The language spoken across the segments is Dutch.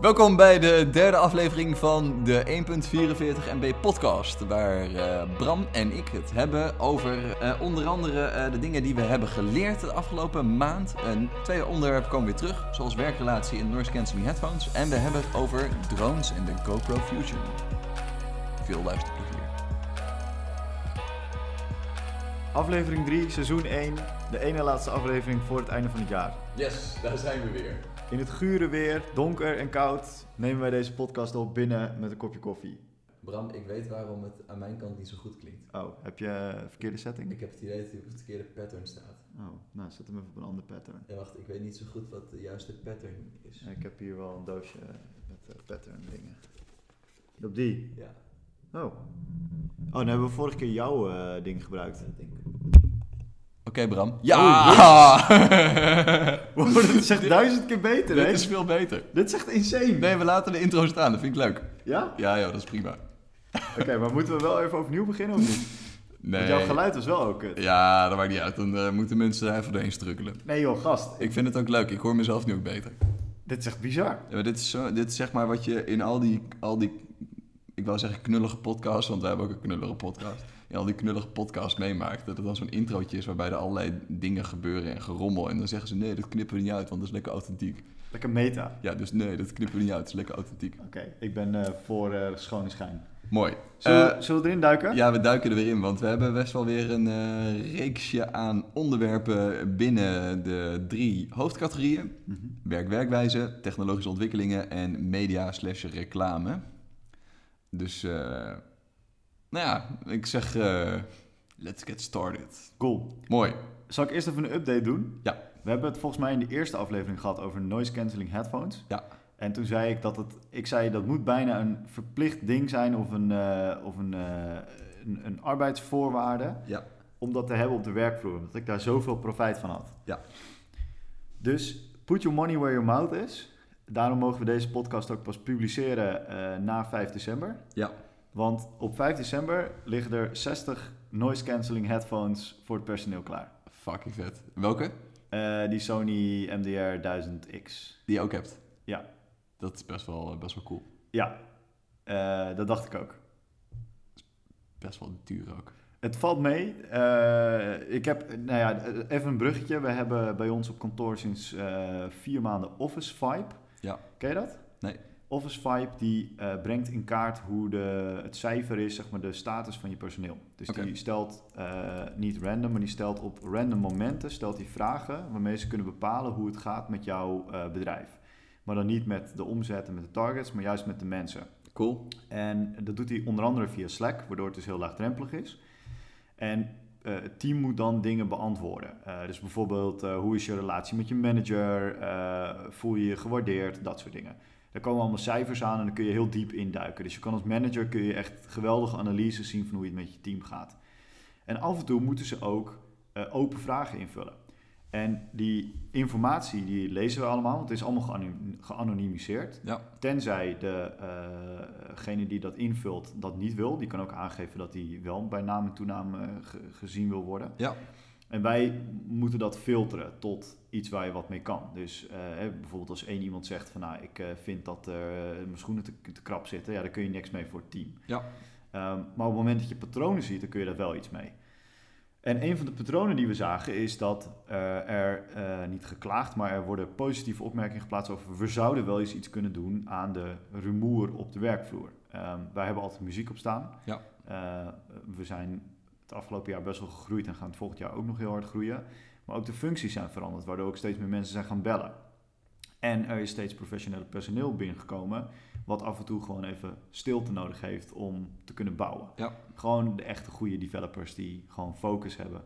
Welkom bij de derde aflevering van de 1.44 MB podcast. Waar eh, Bram en ik het hebben over eh, onder andere eh, de dingen die we hebben geleerd de afgelopen maand. En twee onderwerpen komen weer terug, zoals werkrelatie en noise cancelling headphones. En we hebben het over drones en de GoPro Fusion. Veel luisterplezier. Aflevering 3, seizoen 1, de ene laatste aflevering voor het einde van het jaar. Yes, daar zijn we weer. In het gure weer, donker en koud, nemen wij deze podcast op binnen met een kopje koffie. Bram, ik weet waarom het aan mijn kant niet zo goed klinkt. Oh, heb je een verkeerde setting? heb het idee dat hij op het verkeerde pattern staat. Oh, nou zet hem even op een ander pattern. En wacht, ik weet niet zo goed wat de juiste pattern is. Ik heb hier wel een doosje met eh, pattern dingen. Op die? Ja, Oh. Oh, dan hebben we vorige keer jouw eh, ding gebruikt. dat denk ik. Oké, Bram. Ja! Oh, Wow, Oh, dat is echt duizend keer beter, Dit hè? is veel beter. Dit is echt insane. Nee, we laten de intro staan. Dat vind ik leuk. Ja? Ja, joh, dat is prima. Oké, maar moeten we wel even opnieuw beginnen of niet? Nee. Want jouw geluid was wel ook eh, kut. Ja, dat maakt niet uit. Dan eh, moeten mensen daar even doorheen strukkelen. Nee joh, gast. Ik vind het ook leuk. Ik hoor mezelf nu ook beter. Dit is echt bizar. Ja, maar dit, is zo, dit is zeg maar wat je in al die, al die... Ik wou zeggen knullige podcasts, want wij hebben ook een knullige podcast. In al die knullige podcasts meemaakt. Dat het dan zo'n introotje is waarbij er allerlei dingen gebeuren en gerommel. En dan zeggen ze, nee, dat knippen we niet uit, want dat is lekker authentiek. Lekker meta. Ja, dus nee, dat knippen we niet uit. Het is lekker authentiek. Oké, ik ben eh, voor eh, schone schijn. Mooi. Zullen, Eh, we- zullen we erin duiken? ja, we duiken er weer in, want we hebben best wel weer een eh, reeksje aan onderwerpen binnen de drie hoofdcategorieën. Mhm. Werk-werkwijze, technologische ontwikkelingen en media slash reclame. Dus, eh, nou ja, ik zeg, eh, let's get started. Cool. Mooi. Zal ik eerst even een update doen? Ja. We hebben het volgens mij in de eerste aflevering gehad over noise cancelling headphones. Ja. En toen zei ik dat het, ik zei dat moet bijna een verplicht ding zijn of een, eh, of een, eh, een, een arbeidsvoorwaarde Ja. om dat te hebben op de werkvloer. Omdat ik daar zoveel profijt van had. Ja. Dus put your money where your mouth is. Daarom mogen we deze podcast ook pas publiceren eh, na 5 december. Ja. Want op 5 december liggen er 60 noise cancelling headphones voor het personeel klaar. Fucking vet. Welke? Eh, die Sony MDR 1000X. Die je ook hebt. Ja. Dat is best wel, eh, best wel cool. Ja, eh, dat dacht ik ook. Best wel duur ook. Het valt mee. Eh, ik heb, nou ja, even een bruggetje. We hebben bij ons op kantoor sinds eh, vier maanden Office Vibe. Ja. Ken je dat? Nee. Office Vibe die eh, brengt in kaart hoe de, het cijfer is, zeg maar, de status van je personeel. Dus Oké. die stelt eh, niet random, maar die stelt op random momenten stelt die vragen waarmee ze kunnen bepalen hoe het gaat met jouw eh, bedrijf. Maar dan niet met de omzet en met de targets, maar juist met de mensen. Cool. En dat doet hij onder andere via Slack, waardoor het dus heel laagdrempelig is. En eh, het team moet dan dingen beantwoorden. Eh, dus bijvoorbeeld, eh, hoe is je relatie met je manager? Eh, voel je je gewaardeerd? Dat soort dingen. Daar komen allemaal cijfers aan en dan kun je heel diep induiken. Dus je kan als manager kun je echt geweldige analyses zien van hoe het met je team gaat. En af en toe moeten ze ook eh, open vragen invullen. En die informatie die lezen we allemaal, want het is allemaal geanon- geanonimiseerd. Ja. Tenzij degene die dat invult dat niet wil, die kan ook aangeven dat hij wel bij naam en toenaam eh, ge- gezien wil worden. Ja. En wij moeten dat filteren tot iets waar je wat mee kan. Dus eh, hè, bijvoorbeeld als één iemand zegt van nou, ik eh, vind dat eh, mijn schoenen te, te krap zitten, ja, daar kun je niks mee voor het team. Ja. Ehm, maar op het moment dat je patronen ziet, dan kun je daar wel iets mee. En een van de patronen die we zagen is dat eh, er eh, niet geklaagd, maar er worden positieve opmerkingen geplaatst over we zouden wel eens iets kunnen doen aan de rumoer op de werkvloer. Ehm, wij hebben altijd muziek op staan. Ja. Eh, we zijn het afgelopen jaar best wel gegroeid en gaan het volgend jaar ook nog heel hard groeien. Maar ook de functies zijn veranderd, waardoor ook steeds meer mensen zijn gaan bellen. En er is steeds professioneel personeel binnengekomen, wat af en toe gewoon even stilte nodig heeft om te kunnen bouwen. Ja. Gewoon de echte goede developers die gewoon focus hebben.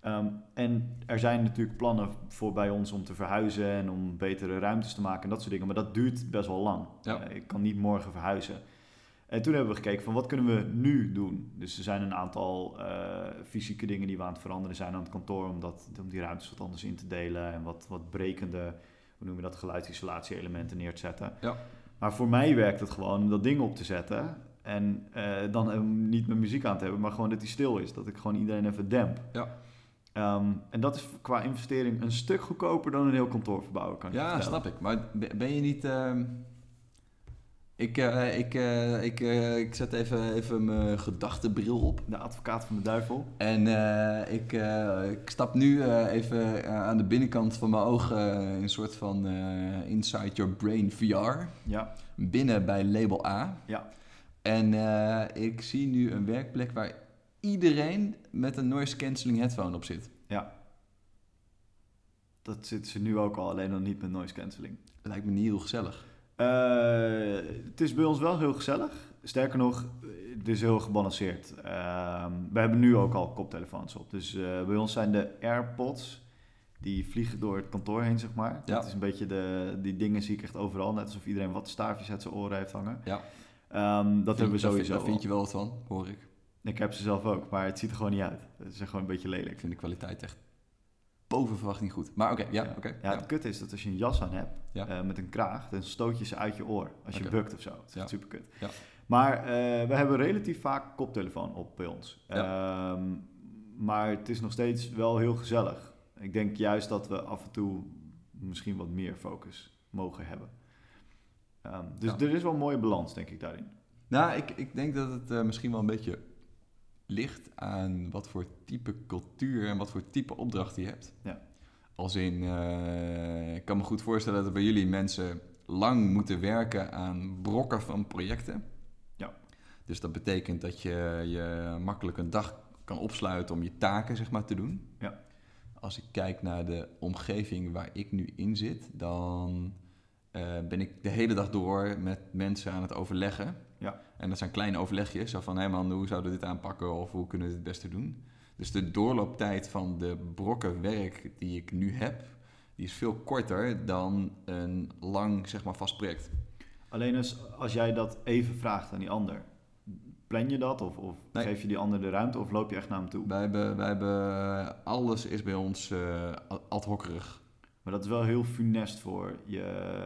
Ehm, en er zijn natuurlijk plannen voor bij ons om te verhuizen en om betere ruimtes te maken en dat soort dingen, maar dat duurt best wel lang. Ja. Eh, ik kan niet morgen verhuizen. En toen hebben we gekeken van wat kunnen we nu doen. Dus er zijn een aantal eh, fysieke dingen die we aan het veranderen zijn aan het kantoor. Om, dat, om die ruimtes wat anders in te delen. En wat, wat brekende, hoe noem je dat, geluidsisolatie elementen neer te zetten. Ja. Maar voor mij werkt het gewoon om dat ding op te zetten. En eh, dan hem niet met muziek aan te hebben, maar gewoon dat hij stil is. Dat ik gewoon iedereen even demp. Ja. Ehm, en dat is qua investering een stuk goedkoper dan een heel kantoor verbouwen, kan ik je Ja, vertellen. snap ik. Maar ben ben je niet. ehm, Ik, eh, ik, eh, ik, eh, ik zet even, even mijn gedachtenbril op. De advocaat van de duivel. En eh, ik, eh, ik stap nu eh, even eh, aan de binnenkant van mijn ogen eh, een soort van eh, Inside Your Brain VR Ja, binnen bij label A. Ja. En eh, ik zie nu een werkplek waar iedereen met een noise cancelling headphone op zit. dat zitten ze nu ook al, alleen dan niet met noise cancelling. Lijkt me niet heel gezellig. Eh, het is bij ons wel heel gezellig. Sterker nog, het is heel gebalanceerd. Ehm, we hebben nu ook al koptelefoons op. Dus eh, bij ons zijn de AirPods. Die vliegen door het kantoor heen, zeg maar. Ja. Dat is een beetje de... Die dingen zie ik echt overal. Net alsof iedereen wat staafjes uit zijn oren heeft hangen. Ja. Ehm, dat hebben we Daar vind- sowieso Daar vind al. je wel wat van, hoor ik. Ik heb ze zelf ook, maar het ziet er gewoon niet uit. Het is gewoon een beetje lelijk. Ik vind de kwaliteit echt boven verwachting goed. Maar oké, ja, oké. Ja, ja. het kut is dat als je een jas aan hebt Ja. eh, met een kraag, dan stoot je ze uit je oor als je Oké. bukt of zo. Dat is Ja. super kut. Ja. Maar eh, we hebben relatief vaak koptelefoon op bij ons. Ehm, maar het is nog steeds wel heel gezellig. Ik denk juist dat we af en toe misschien wat meer focus mogen hebben. Ehm, dus Ja. er is wel een mooie balans, denk ik, daarin. Nou, ik, ik denk dat het eh, misschien wel een beetje ligt aan wat voor type cultuur en wat voor type opdracht je hebt. Ja. Als in, eh, ik kan me goed voorstellen dat er bij jullie mensen lang moeten werken aan brokken van projecten. Ja. Dus dat betekent dat je je makkelijk een dag kan opsluiten om je taken zeg maar, te doen. Ja. Als ik kijk naar de omgeving waar ik nu in zit, dan eh, ben ik de hele dag door met mensen aan het overleggen. En dat zijn kleine overlegjes. Zo van, hé man, hoe zouden we dit aanpakken? Of hoe kunnen we dit het beste doen? Dus de doorlooptijd van de brokken werk die ik nu heb... die is veel korter dan een lang, zeg maar, vast project. Alleen als, als jij dat even vraagt aan die ander, plan je dat? Of, of Nee. geef je die ander de ruimte? Of loop je echt naar hem toe? Wij hebben, wij hebben... Alles is bij ons eh, ad hocerig. Maar dat is wel heel funest voor je,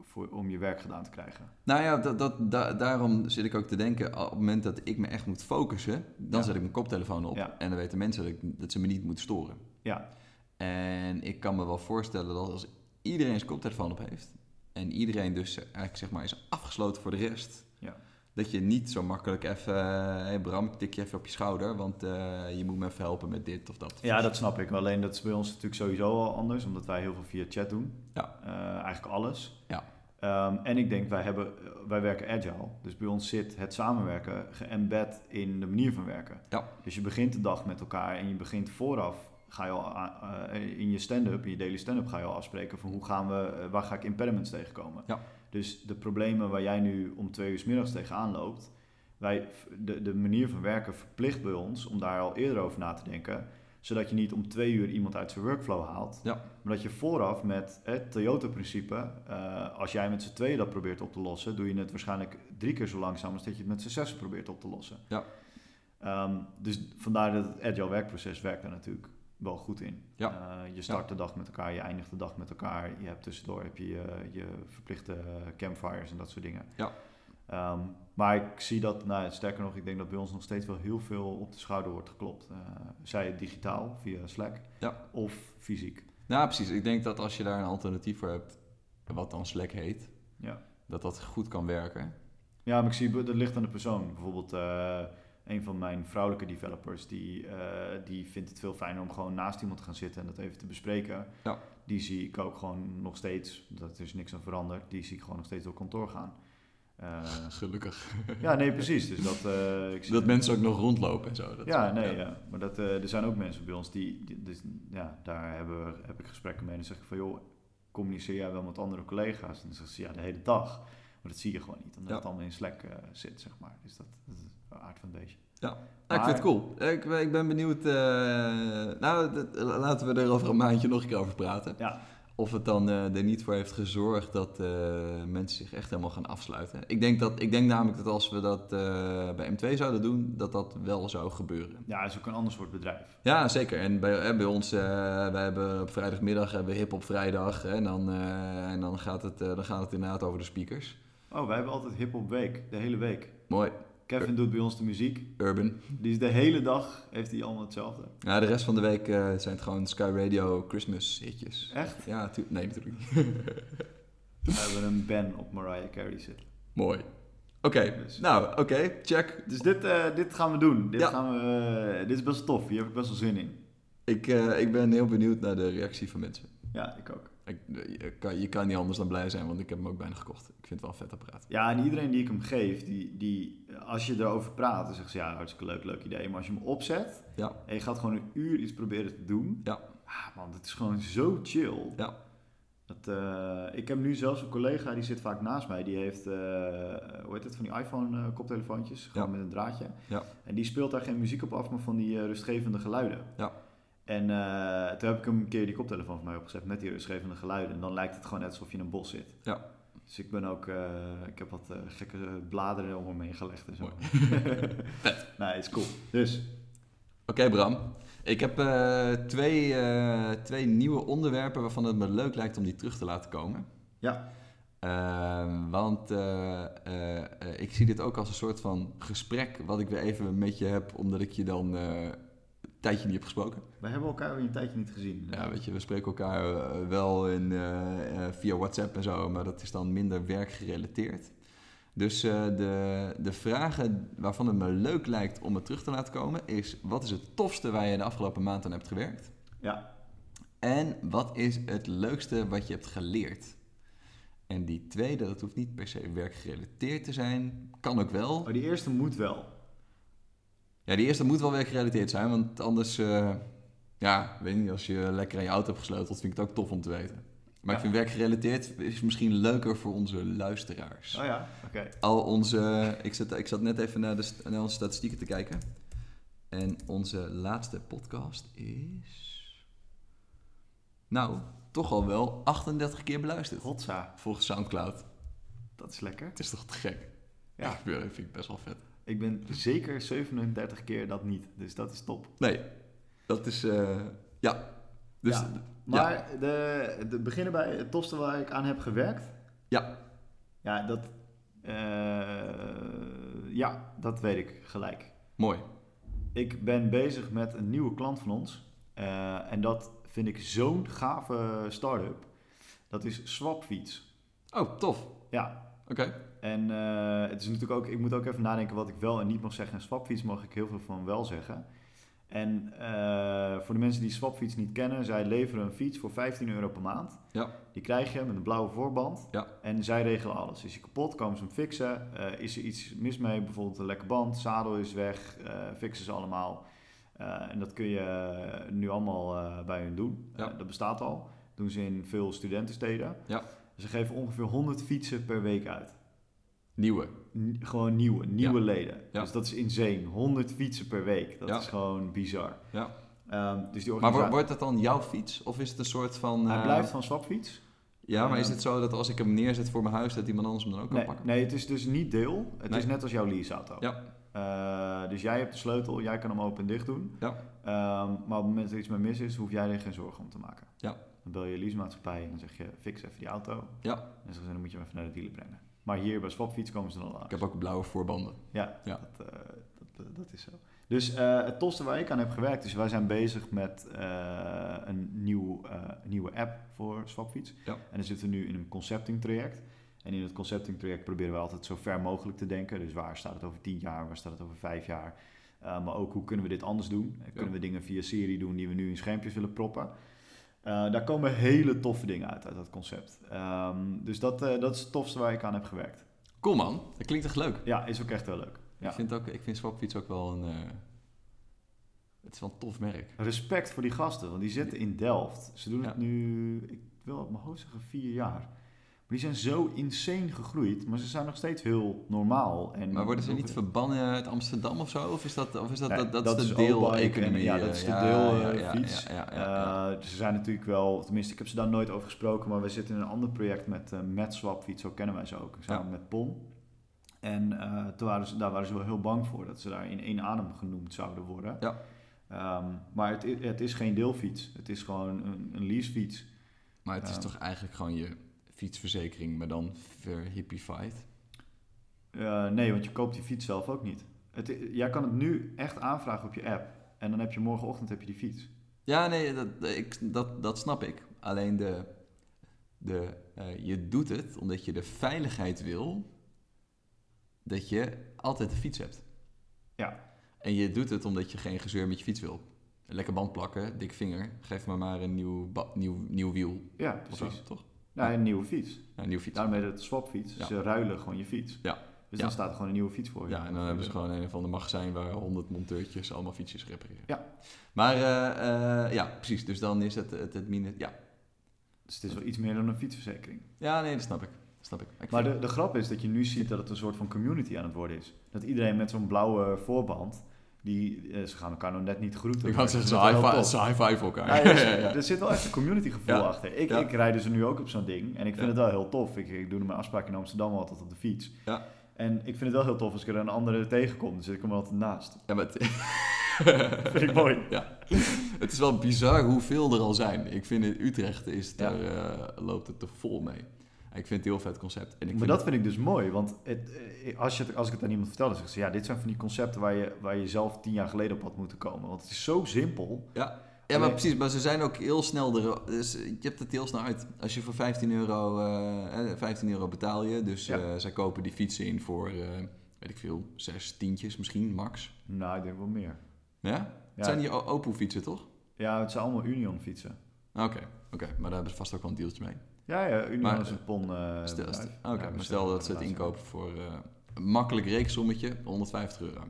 voor, om je werk gedaan te krijgen. Nou ja, dat, dat, da- daarom zit ik ook te denken... op het moment dat ik me echt moet focussen... dan Ja. zet ik mijn koptelefoon op. Ja. En dan weten mensen dat, ik, dat ze me niet moeten storen. Ja. En ik kan me wel voorstellen dat als iedereen zijn koptelefoon op heeft en iedereen dus eigenlijk zeg maar is afgesloten voor de rest, Ja. dat je niet zo makkelijk even, hé hey Bram, ik tik je even op je schouder, want eh, je moet me even helpen met dit of dat. Ja, dat snap ik. Alleen dat is bij ons natuurlijk sowieso al anders, omdat wij heel veel via chat doen. Ja. Eh, eigenlijk alles. Ja. Ehm, en ik denk, wij, hebben, eh, wij werken agile. Dus bij ons zit het samenwerken geëmbed in de manier van werken. Ja. Dus je begint de dag met elkaar en je begint vooraf. Ga je al aan- eh, in je stand-up, in je daily stand-up, ga je al afspreken van hoe gaan we, eh, waar ga ik impediments tegenkomen. Ja. Dus de problemen waar jij nu om twee uur 's middags tegenaan loopt, wij, de, de manier van werken verplicht bij ons om daar al eerder over na te denken, zodat je niet om twee uur iemand uit zijn workflow haalt, Ja. maar dat je vooraf met het Toyota-principe, eh, als jij met z'n tweeën dat probeert op te lossen, doe je het waarschijnlijk drie keer zo langzaam als dat je het met z'n zessen probeert op te lossen. Ja. Ehm, dus vandaar dat het agile werkproces werkt daar natuurlijk wel goed in. Ja. Eh, je start de dag met elkaar, je eindigt de dag met elkaar, je hebt tussendoor heb je, je, je verplichte eh, campfires en dat soort dingen. Ja. Ehm, maar ik zie dat, nou, sterker nog, ik denk dat bij ons nog steeds wel heel veel op de schouder wordt geklopt. Eh, zij het digitaal via Slack Ja. of fysiek. Nou, precies. Ik denk dat als je daar een alternatief voor hebt, wat dan Slack heet, Ja. dat dat goed kan werken. Ja, maar ik zie, dat ligt aan de persoon. Bijvoorbeeld eh, een van mijn vrouwelijke developers, die, eh, die vindt het veel fijner om gewoon naast iemand te gaan zitten en dat even te bespreken. Ja. Die zie ik ook gewoon nog steeds, dat is niks aan veranderd, die zie ik gewoon nog steeds door kantoor gaan. Eh, Gelukkig. ja, nee, precies. Dus dat, eh, ik zie Dat mensen ook nog rondlopen en zo. Dat ja, nee, ja. maar dat, eh, er zijn ook mensen bij ons die, die- dus, ja, daar hebben, we- heb ik gesprekken mee en dan zeg ik van, joh, communiceer jij wel met andere collega's? En dan zeggen ze, ja, de hele dag. Maar dat zie je gewoon niet, omdat Ja. het allemaal in Slack eh, zit, zeg maar. Dus dat, dat is de aard van deze. Nou, ik vind Maar- het cool. Ik, ben- ik ben benieuwd. eh, nou, dat- laten we er over een maandje nog een keer over praten. Ja. Of het dan eh, er niet voor heeft gezorgd dat eh, mensen zich echt helemaal gaan afsluiten. Ik denk, dat, ik denk namelijk dat als we dat eh, bij M2 zouden doen, dat dat wel zou gebeuren. Ja, is ook een ander soort bedrijf. Ja, zeker. En bij, eh, bij ons, eh, wij hebben op vrijdagmiddag hebben we hip op vrijdag. hè, en dan, eh, en dan, gaat het, eh, dan gaat het inderdaad over de speakers. Oh, wij hebben altijd hip-hop week, de hele week. Mooi, Kevin doet bij ons de muziek. urban. Die is de hele dag, heeft hij allemaal hetzelfde. Ja, de rest van de week eh, zijn het gewoon Sky Radio Christmas hitjes. Echt? Ja, tu- nee, natuurlijk niet. We hebben een ban op Mariah Carey zitten. Mooi. Oké, Dus- nou, oké, check. Dus dit, eh, dit gaan we doen. Dit, Ja. gaan we, eh, dit is best wel tof. Hier heb ik best wel zin in. Ik, eh, ik ben heel benieuwd naar de reactie van mensen. Ja, ik ook. Ik, eh, je, kan, je kan niet anders dan blij zijn, want ik heb hem ook bijna gekocht. Ik vind het wel een vet apparaat. Ja, en iedereen die ik hem geef, die, die, als je erover praat, dan zegt ze ja, hartstikke leuk, leuk idee. Maar als je hem opzet Ja. en je gaat gewoon een uur iets proberen te doen. Ja. Ah, man, dat is gewoon zo chill. Ja. Dat, eh, ik heb nu zelfs een collega, die zit vaak naast mij. Die heeft, eh, hoe heet het, van die iPhone eh, koptelefoontjes. Gewoon Ja. met een draadje. Ja. En die speelt daar geen muziek op af, maar van die eh, rustgevende geluiden. Ja. En eh, toen heb ik hem een keer die koptelefoon van mij opgezet met die rustgevende geluiden. En dan lijkt het gewoon net alsof je in een bos zit. Ja. Dus ik ben ook, eh, ik heb wat eh, gekke bladeren om hem heen gelegd en zo. Mooi. nee, is cool. Dus, Oké, Bram. Ik heb eh, twee, eh, twee nieuwe onderwerpen waarvan het me leuk lijkt om die terug te laten komen. Ja. Ehm, want eh, eh, eh, ik zie dit ook als een soort van gesprek wat ik weer even met je heb, omdat ik je dan eh, een tijdje niet heb gesproken. we hebben elkaar weer een tijdje niet gezien. Ja, weet je, we spreken elkaar eh, wel in, eh, eh, via WhatsApp en zo, maar dat is dan minder werkgerelateerd. Dus eh, de, de vragen waarvan het me leuk lijkt om het terug te laten komen is... wat is het tofste waar je de afgelopen maand aan hebt gewerkt? Ja. En wat is het leukste wat je hebt geleerd? En die tweede, dat hoeft niet per se werkgerelateerd te zijn. Kan ook wel. Maar Oh, die eerste moet wel. Ja, die eerste moet wel werkgerelateerd zijn, want anders... eh, ja, weet niet, als je lekker aan je auto hebt gesleuteld, vind ik het ook tof om te weten. Maar ik Ja. vind werkgerelateerd is misschien leuker voor onze luisteraars. Oh ja, oké. Al onze. Ik zat, ik zat net even naar, de, st- naar onze statistieken te kijken. En onze laatste podcast is. Nou, toch al wel 38 keer beluisterd. Hotsa, Volgens Soundcloud. dat is lekker. Het is toch te gek? Ja. Ik vind vind ik best wel vet. Ik ben zeker 37 keer dat niet, dus dat is top. Nee, dat is. eh, ja. Dus. Ja. Maar de, de, beginnen bij het tofste waar ik aan heb gewerkt. Ja. Ja, dat, eh, ja, dat weet ik gelijk. Mooi. Ik ben bezig met een nieuwe klant van ons. Eh, en dat vind ik zo'n gave start-up. Dat is Swapfiets. Oh, tof. Ja, Oké. en eh, het is natuurlijk ook, ik moet ook even nadenken wat ik wel en niet mag zeggen. En Swapfiets mag ik heel veel van wel zeggen. En eh, voor de mensen die Swapfiets niet kennen, zij leveren een fiets voor 15 euro per maand. Ja. Die krijg je met een blauwe voorband. Ja. En zij regelen alles. Is je kapot, komen ze hem fixen. Eh, is er iets mis mee, bijvoorbeeld een lekke band, zadel is weg, eh, fixen ze allemaal. Eh, en dat kun je eh, nu allemaal eh, bij hun doen. Ja. Eh, dat bestaat al. doen ze in veel studentensteden. Ja. Ze geven ongeveer 100 fietsen per week uit. Nieuwe. N- gewoon nieuwe, nieuwe leden. Ja. Dus dat is insane. 100 fietsen per week. Dat Ja. is gewoon bizar. Ja. Ehm, dus die Maar organisatie... wo- wordt dat dan jouw fiets? Of is het een soort van. Hij eh, blijft van Swapfiets. Ja, maar is Ja. het zo dat als ik hem neerzet voor mijn huis, dat iemand anders hem dan ook kan Nee, pakken? nee, het is dus niet deel. Het Nee. is net als jouw leaseauto. Ja. Eh, dus jij hebt de sleutel, jij kan hem open en dicht doen. Ja. Ehm, maar op het moment dat er iets mee mis is, hoef jij er geen zorgen om te maken. Ja. Dan bel je je leasemaatschappij en dan zeg je, fix even die auto. Ja. En dan zeggen ze, dan moet je hem even naar de dealer brengen. Maar hier bij Swapfiets komen ze dan al aan. Ik heb ook blauwe voorbanden. Ja, Ja. Dat, eh, dat, eh, dat is zo. Dus eh, het tofste waar ik aan heb gewerkt is, wij zijn bezig met eh, een nieuw, eh, nieuwe app voor Swapfiets. Ja. En dan zitten we nu in een concepting traject. En in het concepting traject proberen we altijd zo ver mogelijk te denken. Dus waar staat het over 10 jaar, waar staat het over 5 jaar? Eh, maar ook hoe kunnen we dit anders doen? Eh, Kunnen Ja. we dingen via Siri doen die we nu in schermpjes willen proppen? Eh, daar komen hele toffe dingen uit, uit dat concept. Ehm, dus dat, eh, dat is het tofste waar ik aan heb gewerkt. Cool man, dat klinkt echt leuk. Ja, is ook echt heel leuk. Ja. Ik vind, ook, ik vind Swapfiets ook wel een... eh, Het is wel een tof merk. Respect voor die gasten, want die zitten in Delft. Ze doen het Ja. nu, ik wil op mijn hoofd zeggen, vier jaar. Maar die zijn zo insane gegroeid, maar ze zijn nog steeds heel normaal. En Maar worden ze niet verbannen uit Amsterdam of zo? Of is dat, of is dat, Nee, dat, dat, dat is de is Allbike en- deeleconomie? ja, dat is de eh, deelfiets. Ja, ja, ja, ja. Eh, ze zijn natuurlijk wel, tenminste, ik heb ze daar nooit over gesproken, maar we zitten in een ander project met eh MedSwapfiets, zo kennen wij ze ook, samen Ja. met POM. En eh, toen waren ze, daar waren ze wel heel bang voor dat ze daar in één adem genoemd zouden worden. Ja. Ehm, maar het, i- het is geen deelfiets, het is gewoon een, een leasefiets. Maar het is ja. toch eigenlijk gewoon je fietsverzekering, maar dan verhippified? Eh, nee, want je koopt die fiets zelf ook niet. Het, i- jij kan het nu echt aanvragen op je app. En dan heb je morgenochtend heb je die fiets. Ja, nee, dat, ik, dat, dat snap ik. Alleen de, de, eh, je doet het omdat je de veiligheid wil dat je altijd de fiets hebt. Ja. En je doet het omdat je geen gezeur met je fiets wil. Lekker band plakken, dik vinger, geef me maar een nieuw, ba- nieuw, nieuw wiel. Ja, Of precies. zo, toch? Nou, een nieuwe fiets. Ja, een nieuw fiets. Daarmee dat swapfiets. Ja. Ze ruilen gewoon je fiets. Ja. Dus Ja. dan staat er gewoon een nieuwe fiets voor je. Ja, en dan hebben ze gewoon een van de magazijn waar 100 monteurtjes allemaal fietsjes repareren. Ja. Maar eh, eh, ja, precies. Dus dan is het het, het mine. Ja. Dus het is wel iets meer dan een fietsverzekering. ja, nee, dat snap ik. Dat snap ik. ik Maar vind- de, de grap is dat je nu ziet dat het een soort van community aan het worden is. Dat iedereen met zo'n blauwe voorband, die, eh, ze gaan elkaar nog net niet groeten. ik maar had zeggen, ze ze zijn wel high-five top. ze high-five elkaar. Ja, ja, ja, ja. Er zit wel echt een community gevoel Ja. achter. Ik, Ja. ik rijd dus nu ook op zo'n ding en ik vind Ja. het wel heel tof. Ik, ik doe mijn afspraak in Amsterdam altijd op de fiets. Ja. En ik vind het wel heel tof als ik er een andere tegenkom. Dan zit ik hem altijd naast. Ja, maar het, Vind ik mooi. ja. het is wel bizar hoeveel er al zijn. Ik vind in Utrecht is het Ja. er, eh, loopt het er vol mee. En ik vind het een heel vet concept. En ik maar vind dat vind ik dus mooi, want het, eh, als, je het- als ik het aan iemand vertel, dan zeggen ze... Ja, dit zijn van die concepten waar je, waar je zelf tien jaar geleden op had moeten komen. Want het is zo simpel. Ja, maar Alleen- precies. Maar ze zijn ook heel snel er. Dus je hebt het heel snel uit. Als je voor 15 euro, eh, eh, 15 euro betaal je. Dus Ja. eh, zij kopen die fietsen in voor, eh, weet ik veel, zes tientjes misschien, max. Nou, ik denk wel meer. Ja? Ja. Het zijn die Opel fietsen, toch? Ja, het zijn allemaal Union fietsen. Ah, Oké, oké. maar daar hebben ze vast ook wel een deeltje mee. Ja, ja Union Maar, is een pon. eh, stel, bedrijf. stel- Ja, oké, maar we stel zijn- dat ze het we zijn- inkopen voor eh, een makkelijk reeksommetje, 150 euro.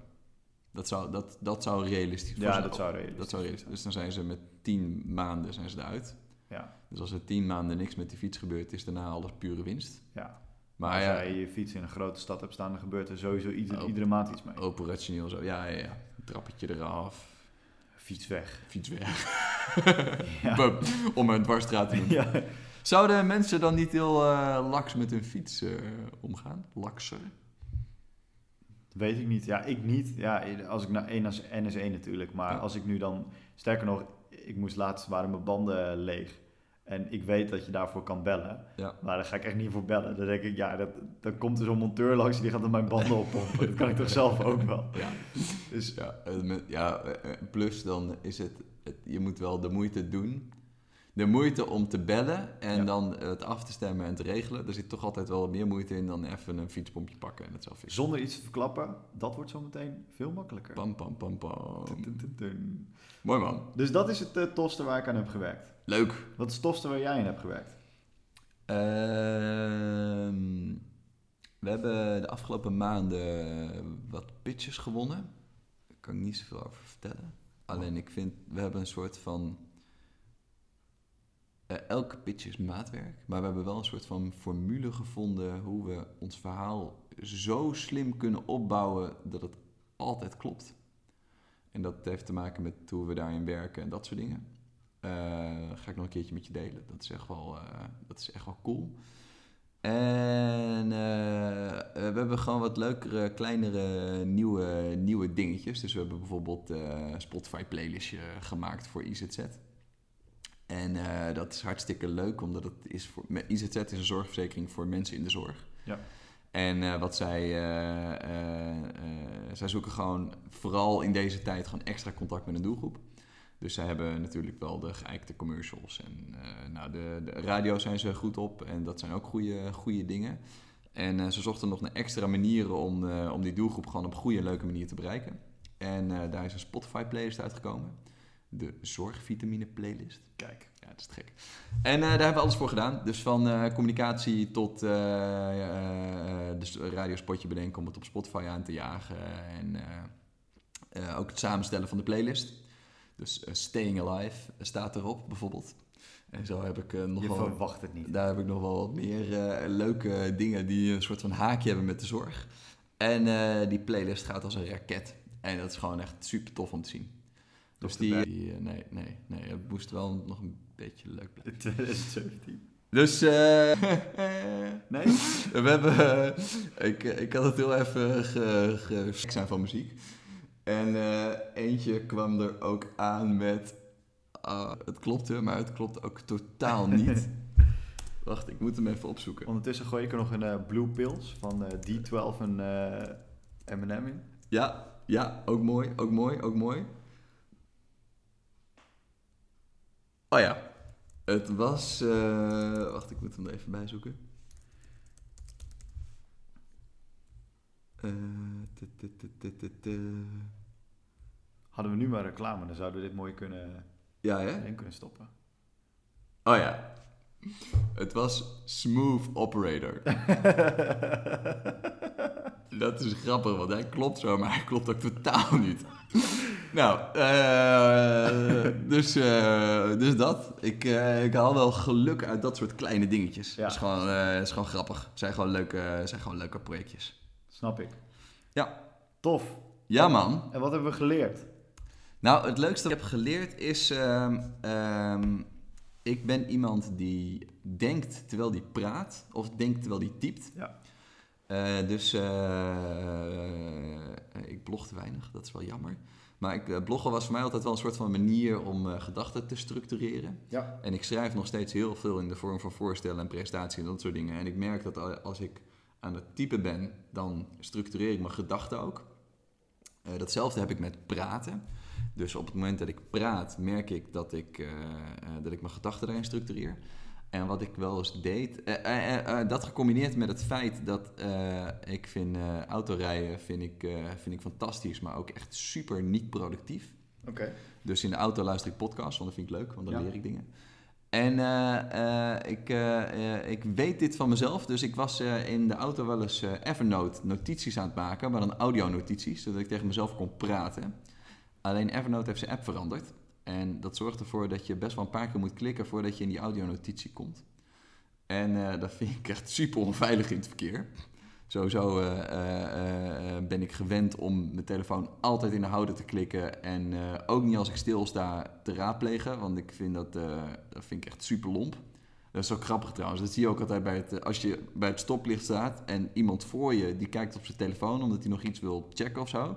Dat zou, dat, dat zou realistisch voor Ja, ze- dat zou realistisch dat zou realistisch Dus dan zijn ze met 10 maanden zijn ze eruit. Ja, Dus als er tien maanden niks met die fiets gebeurt, is daarna alles pure winst. ja. Maar als ja, jij je fiets in een grote stad hebt staan, dan gebeurt er sowieso ieder, Oh. iedere maand iets mee. operationeel zo. Ja, ja, ja. Trappetje eraf, Fiets weg. fiets weg. Ja. Bum, om een dwarsstraat te doen. ja. Zouden mensen dan niet heel eh, laks met hun fiets eh, omgaan? Lakser? Dat weet ik niet. Ja, ik niet. Ja, als ik naar één als NS1 natuurlijk. Maar Ja. als ik nu dan... Sterker nog, ik moest laatst... waren mijn banden leeg. En ik weet dat je daarvoor kan bellen. Ja. Maar daar ga ik echt niet voor bellen. Dan denk ik, ja, dat, dan komt er zo'n monteur langs... en die gaat dan mijn banden oppompen. Dat kan ik toch zelf ook wel. Ja. Dus Ja, eh, met- ja eh, eh, plus dan is het, het- je moet wel de moeite doen. De moeite om te bellen en Ja. dan het af te stemmen en te regelen. Er zit toch altijd wel meer moeite in dan even een fietspompje pakken en het zelf fixen. zonder iets te verklappen... dat wordt zo meteen veel makkelijker. Pam, pam, pam, Dun, pam. dun, dun, dun. Mooi man. Dus dat is het eh, tofste waar ik aan heb gewerkt. Leuk. Wat is het tofste waar jij aan hebt gewerkt? Ehm, we hebben de afgelopen maanden wat pitches gewonnen. Daar kan ik niet zoveel over vertellen. Alleen ik vind, we hebben een soort van... eh, elke pitch is maatwerk, maar we hebben wel een soort van formule gevonden hoe we ons verhaal zo slim kunnen opbouwen dat het altijd klopt. En dat heeft te maken met hoe we daarin werken en dat soort dingen. Eh, ga ik nog een keertje met je delen. Dat is echt wel, eh, dat is echt wel cool. En eh, eh, we hebben gewoon wat leukere, kleinere, nieuwe, nieuwe dingetjes. Dus we hebben bijvoorbeeld eh, een Spotify playlistje gemaakt voor IZZ. En eh, dat is hartstikke leuk, omdat het is voor, me- IZZ is een zorgverzekering voor mensen in de zorg. Ja. En eh, wat zij, eh, eh, eh, zij zoeken gewoon vooral in deze tijd gewoon extra contact met een doelgroep. Dus zij hebben natuurlijk wel de geëikte commercials. En eh, nou, de, de radio zijn ze goed op en dat zijn ook goede, goede dingen. En eh, ze zochten nog naar extra manieren om, eh, om die doelgroep gewoon op een goede en leuke manier te bereiken. En eh, daar is een Spotify playlist uitgekomen. De Zorgvitamine playlist. Kijk. Ja, dat is te gek. En eh, daar hebben we alles voor gedaan. Dus van eh, communicatie tot eh eh, dus een radiospotje bedenken om het op Spotify aan te jagen. En eh, eh, ook het samenstellen van de playlist. Dus eh, Staying Alive staat erop bijvoorbeeld. En zo heb ik eh, nog Je wel... verwacht het niet. Daar heb ik nog wel wat meer eh, leuke dingen die een soort van haakje hebben met de zorg. En eh, die playlist gaat als een raket. En dat is gewoon echt super tof om te zien. Dus te die, bij- die, eh, nee, nee, nee, het moest wel nog een beetje leuk blijven. 2017. Dus eh, Nee? we hebben, eh, ik, ik had het heel even ge, ge- zijn van muziek. En eh, eentje kwam er ook aan met, ah, het klopte, maar het klopt ook totaal niet. Wacht, ik moet hem even opzoeken. Ondertussen gooi ik er nog een eh, Blue Pills van eh, D12 en eh, M&M in. Ja, ja, ook mooi, ook mooi, ook mooi. Oh ja, het was. eh, wacht, ik moet hem er even bij zoeken. Eh, Eh, tu, tu, tu, tu, tu, tu. Hadden we nu maar reclame, dan zouden we dit mooi kunnen, Ja, hè? erin kunnen stoppen. Oh ja. Het was Smooth Operator. Dat is grappig, want hij klopt zo, maar hij klopt ook totaal niet. Nou, eh, dus, eh, dus dat. Ik, eh, ik haal wel geluk uit dat soort kleine dingetjes. Ja. Het is, gewoon, eh, is gewoon grappig. Het zijn gewoon leuke, zijn gewoon leuke projectjes. Snap ik. Ja. Tof. Ja, man. En wat hebben we geleerd? Nou, het leukste dat ik heb geleerd is... ehm, ehm, ik ben iemand die denkt terwijl die praat. Of denkt terwijl die typt. Ja. Eh, dus eh, ik blog te weinig. Dat is wel jammer. Maar ik, eh, bloggen was voor mij altijd wel een soort van manier om eh, gedachten te structureren. Ja. En ik schrijf nog steeds heel veel in de vorm van voorstellen en presentaties en dat soort dingen. En ik merk dat al- als ik aan het typen ben, dan structureer ik mijn gedachten ook. Eh, datzelfde heb ik met praten. Dus op het moment dat ik praat, merk ik dat ik, eh, eh, dat ik mijn gedachten daarin structureer. En wat ik wel eens deed, eh, eh, eh, eh, dat gecombineerd met het feit dat eh, ik vind eh, autorijden vind ik, eh, vind ik fantastisch, maar ook echt super niet productief. Oké. Dus in de auto luister ik podcasts, want dat vind ik leuk, want dan Ja. leer ik dingen. En eh, eh, ik, eh, eh, ik weet dit van mezelf, dus ik was eh, in de auto wel eens eh, Evernote notities aan het maken, maar dan audio-notities, zodat ik tegen mezelf kon praten. Alleen Evernote heeft zijn app veranderd. En dat zorgt ervoor dat je best wel een paar keer moet klikken voordat je in die audio-notitie komt. En eh, dat vind ik echt super onveilig in het verkeer. Sowieso eh, eh, eh, ben ik gewend om mijn telefoon altijd in de houder te klikken. En eh, ook niet als ik stilsta te raadplegen. Want ik vind dat, eh, dat vind ik echt super lomp. Dat is ook grappig trouwens. Dat zie je ook altijd bij het, eh, als je bij het stoplicht staat. En iemand voor je die kijkt op zijn telefoon omdat hij nog iets wil checken of zo.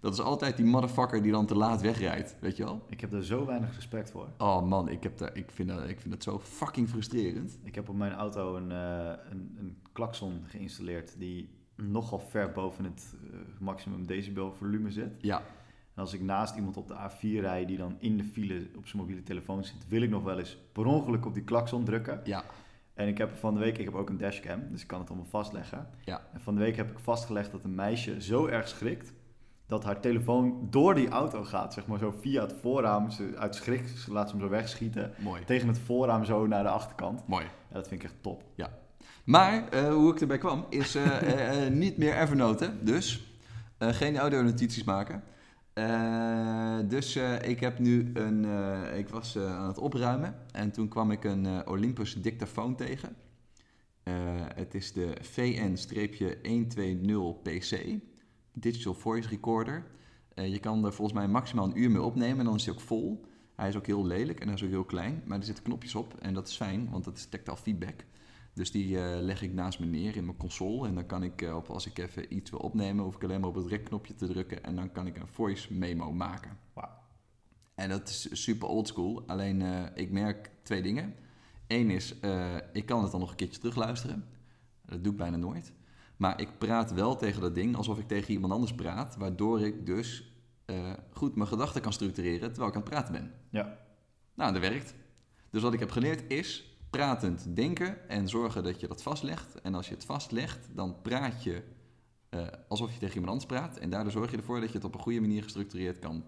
Dat is altijd die motherfucker die dan te laat wegrijdt. Weet je wel? Ik heb daar zo weinig respect voor. Oh man, ik, heb daar, ik, vind dat, ik vind dat zo fucking frustrerend. Ik heb op mijn auto een, eh een, een klakson geïnstalleerd die nogal ver boven het eh, maximum decibel volume zit. Ja, En als ik naast iemand op de A4 rijd die dan in de file op zijn mobiele telefoon zit, wil ik nog wel eens per ongeluk op die klakson drukken. ja, En ik heb van de week, ik heb ook een dashcam, dus ik kan het allemaal vastleggen. Ja. En van de week heb ik vastgelegd dat een meisje zo erg schrikt dat haar telefoon door die auto gaat, zeg maar zo via het voorraam. Ze uit schrik ze laat ze hem zo wegschieten mooi. tegen het voorraam zo naar de achterkant. Mooi. Ja, dat vind ik echt top. Maar eh, hoe ik erbij kwam is eh, eh, eh, niet meer Evernote, hè. dus eh, geen audio-notities maken. Eh, dus eh, ik heb nu een. eh, ik was eh, aan het opruimen en toen kwam ik een eh, Olympus dictafoon tegen. Eh, het is de VN-120PC, Digital Voice Recorder. Eh, je kan er volgens mij maximaal een uur mee opnemen en dan is hij ook vol. Hij is ook heel lelijk en hij is ook heel klein, maar er zitten knopjes op en dat is fijn, want dat is tactile feedback. Dus die eh, leg ik naast me neer in mijn console. En dan kan ik, eh, op, als ik even iets wil opnemen, hoef ik alleen maar op het rekknopje te drukken. En dan kan ik een voice memo maken. Wauw. En dat is super oldschool. Alleen eh, ik merk twee dingen. Eén is, eh, ik kan het dan nog een keertje terugluisteren. Dat doe ik bijna nooit. Maar ik praat wel tegen dat ding alsof ik tegen iemand anders praat. Waardoor ik dus eh, goed mijn gedachten kan structureren terwijl ik aan het praten ben. Ja. Nou, dat werkt. Dus wat ik heb geleerd is pratend denken en zorgen dat je dat vastlegt. En als je het vastlegt, dan praat je eh, alsof je tegen iemand anders praat. En daardoor zorg je ervoor dat je het op een goede manier gestructureerd kan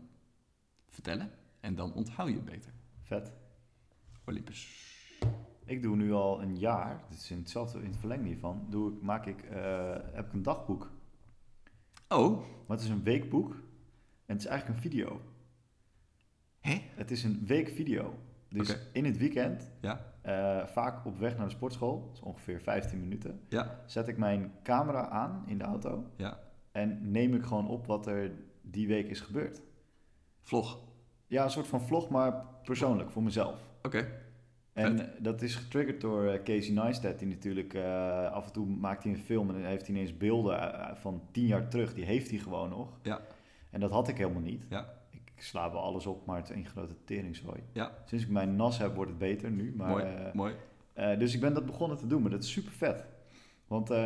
vertellen. En dan onthoud je het beter. Vet. Olympus. Ik doe nu al een jaar, dit is in hetzelfde in het verlengde hiervan, doe ik, maak ik, eh, heb ik een dagboek. Oh, Maar het is een weekboek en het is eigenlijk een video. Hè? Het is een weekvideo. Dus Oké. in het weekend, ja, eh, vaak op weg naar de sportschool, dat is ongeveer 15 minuten, ja, zet ik mijn camera aan in de auto ja. en neem ik gewoon op wat er die week is gebeurd. Vlog. Ja, een soort van vlog, maar persoonlijk, voor mezelf. Oké. En eh, dat is getriggerd door eh, Casey Neistat, die natuurlijk eh, af en toe maakt hij een film en dan heeft hij ineens beelden eh, van tien jaar terug. Die heeft hij gewoon nog. Ja. En dat had ik helemaal niet. Ja. Ik sla wel alles op, maar het is één grote teringzooi. Ja. Sinds ik mijn NAS heb, wordt het beter nu. Maar, mooi, eh, mooi. eh, dus ik ben dat begonnen te doen, maar dat is super vet. Want eh,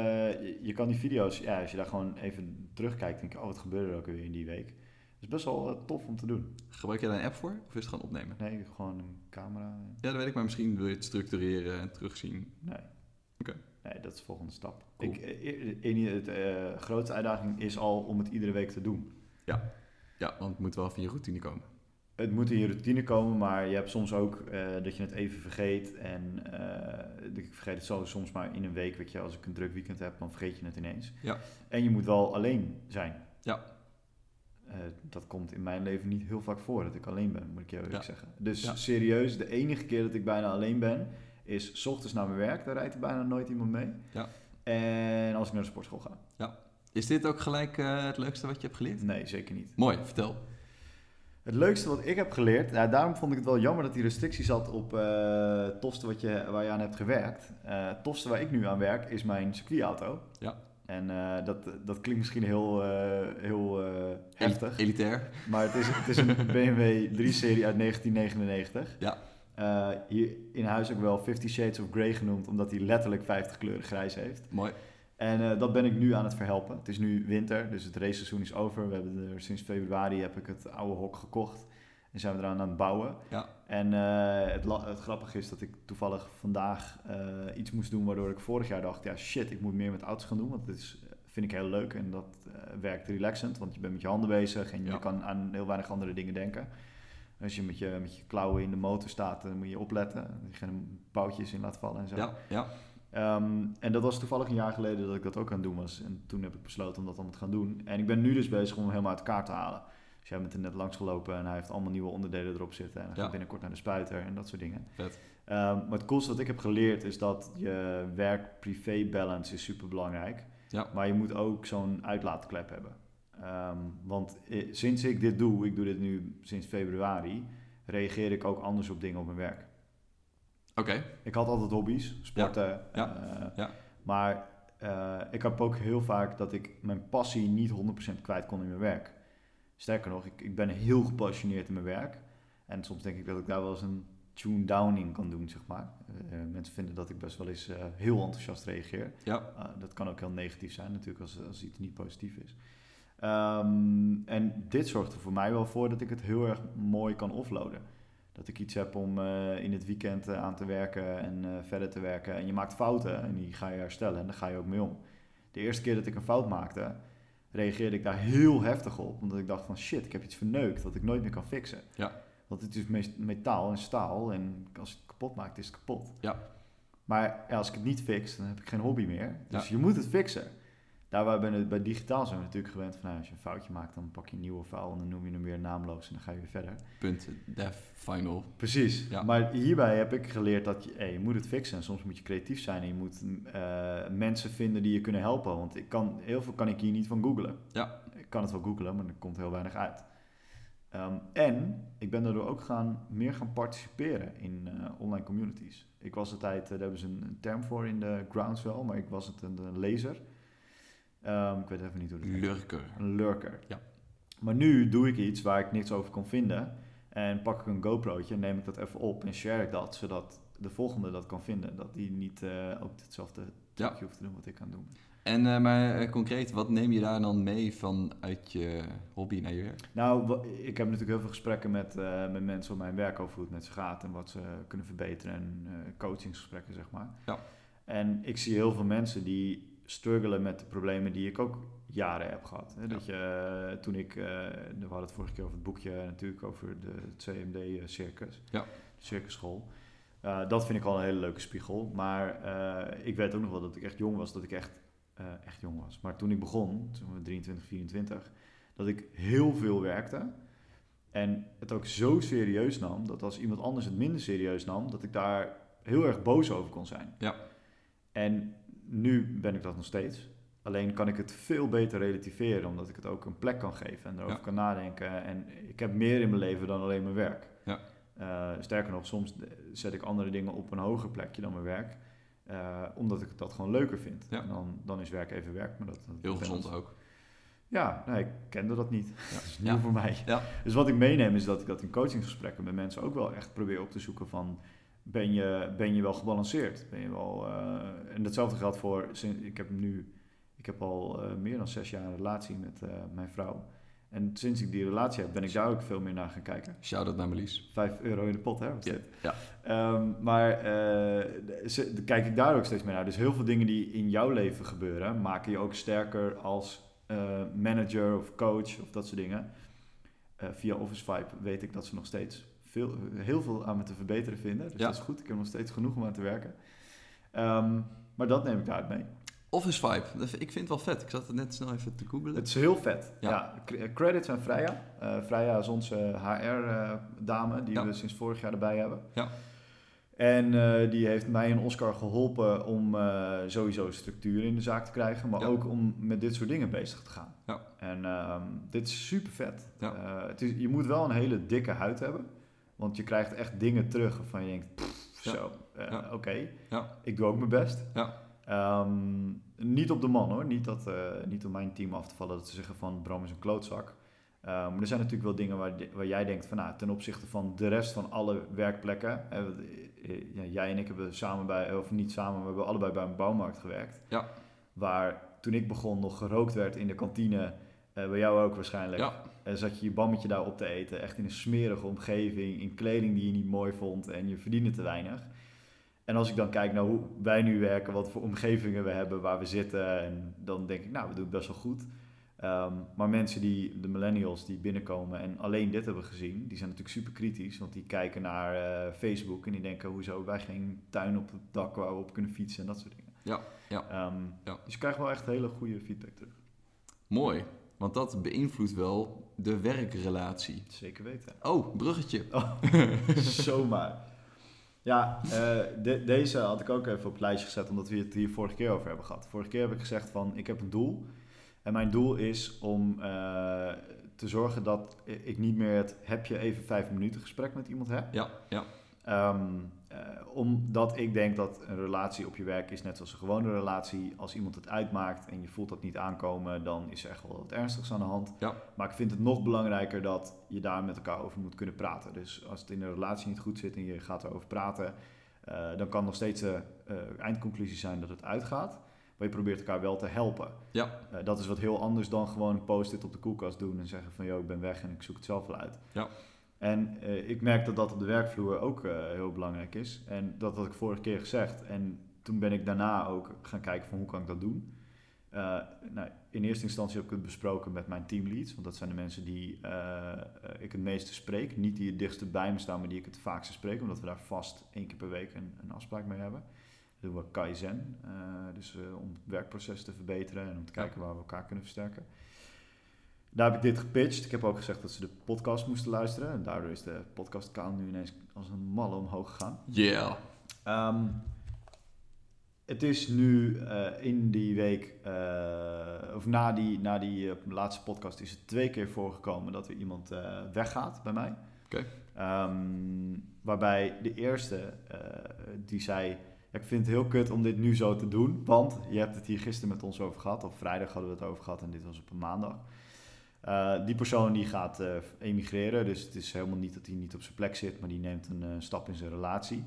je, je kan die video's, ja, als je daar gewoon even terugkijkt, denk je, oh, wat gebeurde er ook weer in die week. Dat is best wel eh, tof om te doen. Gebruik je daar een app voor of is het gewoon opnemen? Nee, gewoon een camera. Ja, dat weet ik, maar misschien wil je het structureren en terugzien. Nee. Oké. Nee, dat is de volgende stap. Cool. Ik, eh, eh, het eh, grootste uitdaging is al om het iedere week te doen. Ja, want het moet wel via je routine komen. Het moet in je routine komen, maar je hebt soms ook eh, dat je het even vergeet. En eh, ik vergeet het zo soms maar in een week. Weet je, als ik een druk weekend heb, dan vergeet je het ineens. Ja. En je moet wel alleen zijn. Ja. Eh, dat komt in mijn leven niet heel vaak voor dat ik alleen ben, moet ik je eerlijk Ja. zeggen. Dus Ja. serieus, de enige keer dat ik bijna alleen ben, is 's ochtends naar mijn werk. Daar rijdt er bijna nooit iemand mee. Ja. En als ik naar de sportschool ga. Is dit ook gelijk eh, het leukste wat je hebt geleerd? Nee, zeker niet. Mooi, vertel. Het leukste wat ik heb geleerd, nou, daarom vond ik het wel jammer dat die restrictie zat op eh, het tofste wat je, waar je aan hebt gewerkt. Eh, het tofste waar ik nu aan werk is mijn circuitauto. Ja. En eh, dat, dat klinkt misschien heel, eh, heel eh, heftig, Eli- elitair. maar het is, het is een BMW 3-serie uit 1999. Ja. Eh, hier in huis ook wel 50 Shades of Grey genoemd, omdat hij letterlijk 50 kleuren grijs heeft. Mooi. En eh, dat ben ik nu aan het verhelpen. Het is nu winter, dus het raceseizoen is over. We hebben er sinds februari heb ik het oude hok gekocht. En zijn we eraan aan het bouwen. Ja. En eh, het, la- het grappige is dat ik toevallig vandaag eh, iets moest doen waardoor ik vorig jaar dacht, ja shit, ik moet meer met auto's gaan doen. Want dat is, eh, vind ik heel leuk en dat eh, werkt relaxend. Want je bent met je handen bezig en Ja. je kan aan heel weinig andere dingen denken. Als je met, je met je klauwen in de motor staat, dan moet je opletten. Je geen boutjes in laat vallen en zo. Ja, ja. Ehm, en dat was toevallig een jaar geleden dat ik dat ook aan het doen was. En toen heb ik besloten om dat allemaal te gaan doen. En ik ben nu dus bezig om hem helemaal uit elkaar te halen. Dus jij bent er net langs gelopen en hij heeft allemaal nieuwe onderdelen erop zitten. En hij Ja. gaat binnenkort naar de spuiter en dat soort dingen. Vet. Ehm, maar het coolste wat ik heb geleerd is dat je werk-privé balance is super belangrijk. Ja. Maar je moet ook zo'n uitlaatklep hebben. Ehm, want eh, sinds ik dit doe, ik doe dit nu sinds februari, reageer ik ook anders op dingen op mijn werk. Oké. Ik had altijd hobby's, sporten. ja, eh, ja. Maar eh, ik heb ook heel vaak dat ik mijn passie niet 100% kwijt kon in mijn werk. Sterker nog, ik, ik ben heel gepassioneerd in mijn werk. En soms denk ik dat ik daar wel eens een tune down in kan doen, zeg maar. Eh, mensen vinden dat ik best wel eens eh, heel enthousiast reageer. Ja. Uh, dat kan ook heel negatief zijn natuurlijk als, als iets niet positief is. Ehm, en dit zorgt er voor mij wel voor dat ik het heel erg mooi kan offloaden. Dat ik iets heb om eh, in het weekend eh, aan te werken en eh, verder te werken. En je maakt fouten en die ga je herstellen en daar ga je ook mee om. De eerste keer dat ik een fout maakte, reageerde ik daar heel heftig op. Omdat ik dacht van shit, ik heb iets verneukt dat ik nooit meer kan fixen. Ja. Want het is meest- metaal en staal en als ik het kapot maak, is het kapot. Ja. Maar ja, als ik het niet fix, dan heb ik geen hobby meer. Dus je moet het fixen. Daarbij ben ik bij digitaal zijn we natuurlijk gewend van nou, als je een foutje maakt, dan pak je een nieuwe file en dan noem je hem weer naamloos en dan ga je weer verder. Punt. Def. Final. Precies. Ja. Maar hierbij heb ik geleerd dat je, hey, je moet het fixen. En soms moet je creatief zijn en je moet eh, mensen vinden die je kunnen helpen. Want ik kan, heel veel kan ik hier niet van googlen. Ja. Ik kan het wel googlen, maar er komt heel weinig uit. Ehm, en ik ben daardoor ook gaan, meer gaan participeren in eh, online communities. Ik was een tijd, eh, daar hebben ze een, een term voor in de grounds wel, maar ik was het een, een lezer. Ehm, ik weet even niet hoe dat heet. Lurker. Een lurker. Ja. Maar nu doe ik iets waar ik niks over kon vinden. En pak ik een GoPro'tje en neem ik dat even op en share ik dat, zodat de volgende dat kan vinden. Dat die niet eh, ook hetzelfde Ja. trucje hoeft te doen wat ik aan doen. En eh, maar eh, concreet, wat neem je daar dan mee vanuit je hobby naar je werk? Nou, wa- ik heb natuurlijk heel veel gesprekken met, eh, met mensen op mijn werk over hoe het met ze gaat en wat ze kunnen verbeteren en eh, coachingsgesprekken, zeg maar. Ja. En ik zie heel veel mensen die struggelen met de problemen die ik ook jaren heb gehad. Hè? Dat je, eh, toen ik, eh, we hadden het vorige keer over het boekje natuurlijk, over de CMD-circus, Ja. eh, de circusschool. Eh, dat vind ik al een hele leuke spiegel. Maar eh, ik weet ook nog wel dat ik echt jong was, dat ik echt, eh, echt jong was. Maar toen ik begon, toen we 23, 24, dat ik heel veel werkte. En het ook zo serieus nam, dat als iemand anders het minder serieus nam, dat ik daar heel erg boos over kon zijn. Ja. En nu ben ik dat nog steeds. Alleen kan ik het veel beter relativeren, omdat ik het ook een plek kan geven en erover Ja. kan nadenken. En ik heb meer in mijn leven dan alleen mijn werk. Ja. Eh, sterker nog, soms zet ik andere dingen op een hoger plekje dan mijn werk, eh, omdat ik dat gewoon leuker vind. Ja. En dan, dan is werk even werk, maar dat, dat Heel dat- gezond ook. ja, nee, ik kende dat niet. dat is nieuw Ja. voor mij. Ja. Dus wat ik meeneem is dat ik dat in coachingsgesprekken met mensen ook wel echt probeer op te zoeken van... Ben je, ben je wel gebalanceerd? Ben je wel, eh, en datzelfde geldt voor... sin- Ik heb nu ik heb al eh, meer dan zes jaar een relatie met eh, mijn vrouw. En sinds ik die relatie heb, ben ik daar ook veel meer naar gaan kijken. Shout-out naar Melis. Vijf euro in de pot, hè? was Ja, dit. ja. Ehm, maar eh, ze- d- kijk ik daar ook steeds meer naar. Dus heel veel dingen die in jouw leven gebeuren, maken je ook sterker als eh, manager of coach of dat soort dingen. Eh, via Office Vibe weet ik dat ze nog steeds veel, heel veel aan me te verbeteren vinden. Dus Ja. dat is goed. Ik heb nog steeds genoeg om aan te werken. Ehm, maar dat neem ik daaruit mee. Office Vibe. Dat vind- Ik vind het wel vet. Ik zat het net snel even te googlen. Het is heel vet. Ja. Ja. cr- Credits aan Freya. Eh Freya is onze HR-dame die Ja. we sinds vorig jaar erbij hebben. Ja. En eh, die heeft mij en Oscar geholpen om eh, sowieso structuur in de zaak te krijgen, maar Ja. ook om met dit soort dingen bezig te gaan. Ja. En ehm, dit is super vet. Eh, Ja. je moet wel een hele dikke huid hebben, want je krijgt echt dingen terug waarvan je denkt, pff, Ja. zo, eh, Ja. oké, Ja. ik doe ook mijn best. Ja. Ehm, niet op de man hoor, niet, dat, eh, niet om mijn team af te vallen dat ze zeggen van Bram is een klootzak. Eh, maar er zijn natuurlijk wel dingen waar, waar jij denkt van nou, ten opzichte van de rest van alle werkplekken. eh, want, eh, ja, jij en ik hebben samen bij, of niet samen, maar we hebben allebei bij een bouwmarkt gewerkt. Ja. Waar toen ik begon nog gerookt werd in de kantine, eh, bij jou ook waarschijnlijk. Ja. eh, zat je je bammetje daar op te eten, echt in een smerige omgeving, in kleding die je niet mooi vond en je verdiende te weinig. En als ik dan kijk naar hoe wij nu werken, wat voor omgevingen we hebben, waar we zitten, en dan denk ik, nou, we doen het best wel goed. Ehm, maar mensen die, de millennials die binnenkomen en alleen dit hebben gezien, die zijn natuurlijk super kritisch, want die kijken naar eh, Facebook en die denken, hoezo hebben wij geen tuin op het dak waar we op kunnen fietsen en dat soort dingen. Ja, ja. Ehm, Ja. Dus je krijgt wel echt hele goede feedback terug. Mooi. Want dat beïnvloedt wel de werkrelatie. Zeker weten. Oh, bruggetje. Zomaar. Ja, eh, de- deze had ik ook even op het lijstje gezet, omdat we het hier vorige keer over hebben gehad. Vorige keer heb ik gezegd van, ik heb een doel. En mijn doel is om eh, te zorgen dat ik niet meer het heb je even vijf minuten gesprek met iemand heb. Ja, ja, Ehm, eh, omdat ik denk dat een relatie op je werk is net zoals een gewone relatie. Als iemand het uitmaakt en je voelt dat niet aankomen, dan is er echt wel wat ernstigs aan de hand. Ja. Maar ik vind het nog belangrijker dat je daar met elkaar over moet kunnen praten. Dus als het in een relatie niet goed zit en je gaat erover praten, eh, dan kan nog steeds de eh, eindconclusie zijn dat het uitgaat. Maar je probeert elkaar wel te helpen. ja, Eh, dat is wat heel anders dan gewoon een post-it op de koelkast doen en zeggen van joh, ik ben weg en ik zoek het zelf wel uit. Ja. En eh, ik merk dat dat op de werkvloer ook eh, heel belangrijk is. En dat had ik vorige keer gezegd. En toen ben ik daarna ook gaan kijken van hoe kan ik dat doen. Eh, nou, in eerste instantie heb ik het besproken met mijn teamleads. Want dat zijn de mensen die eh, eh, ik het meeste spreek. Niet die het dichtst bij me staan, maar die ik het vaakste spreek. Omdat we daar vast één keer per week een, een afspraak mee hebben. Dat doen we Kaizen. eh, dus eh, om het werkproces te verbeteren en om te Ja. kijken waar we elkaar kunnen versterken. Daar heb ik dit gepitcht. Ik heb ook gezegd dat ze de podcast moesten luisteren. En daardoor is de podcastkaal nu ineens als een malle omhoog gegaan. yeah. Ehm, het is nu eh, in die week, eh, of na die, na die eh, laatste podcast, is het twee keer voorgekomen dat er iemand eh, weggaat bij mij. Oké. Ehm, waarbij de eerste eh, die zei: ja, Ik vind het heel kut om dit nu zo te doen, want je hebt het hier gisteren met ons over gehad. Op vrijdag hadden we het over gehad en dit was op een maandag. Eh, die persoon die gaat eh, emigreren, dus het is helemaal niet dat hij niet op zijn plek zit, maar die neemt een eh, stap in zijn relatie.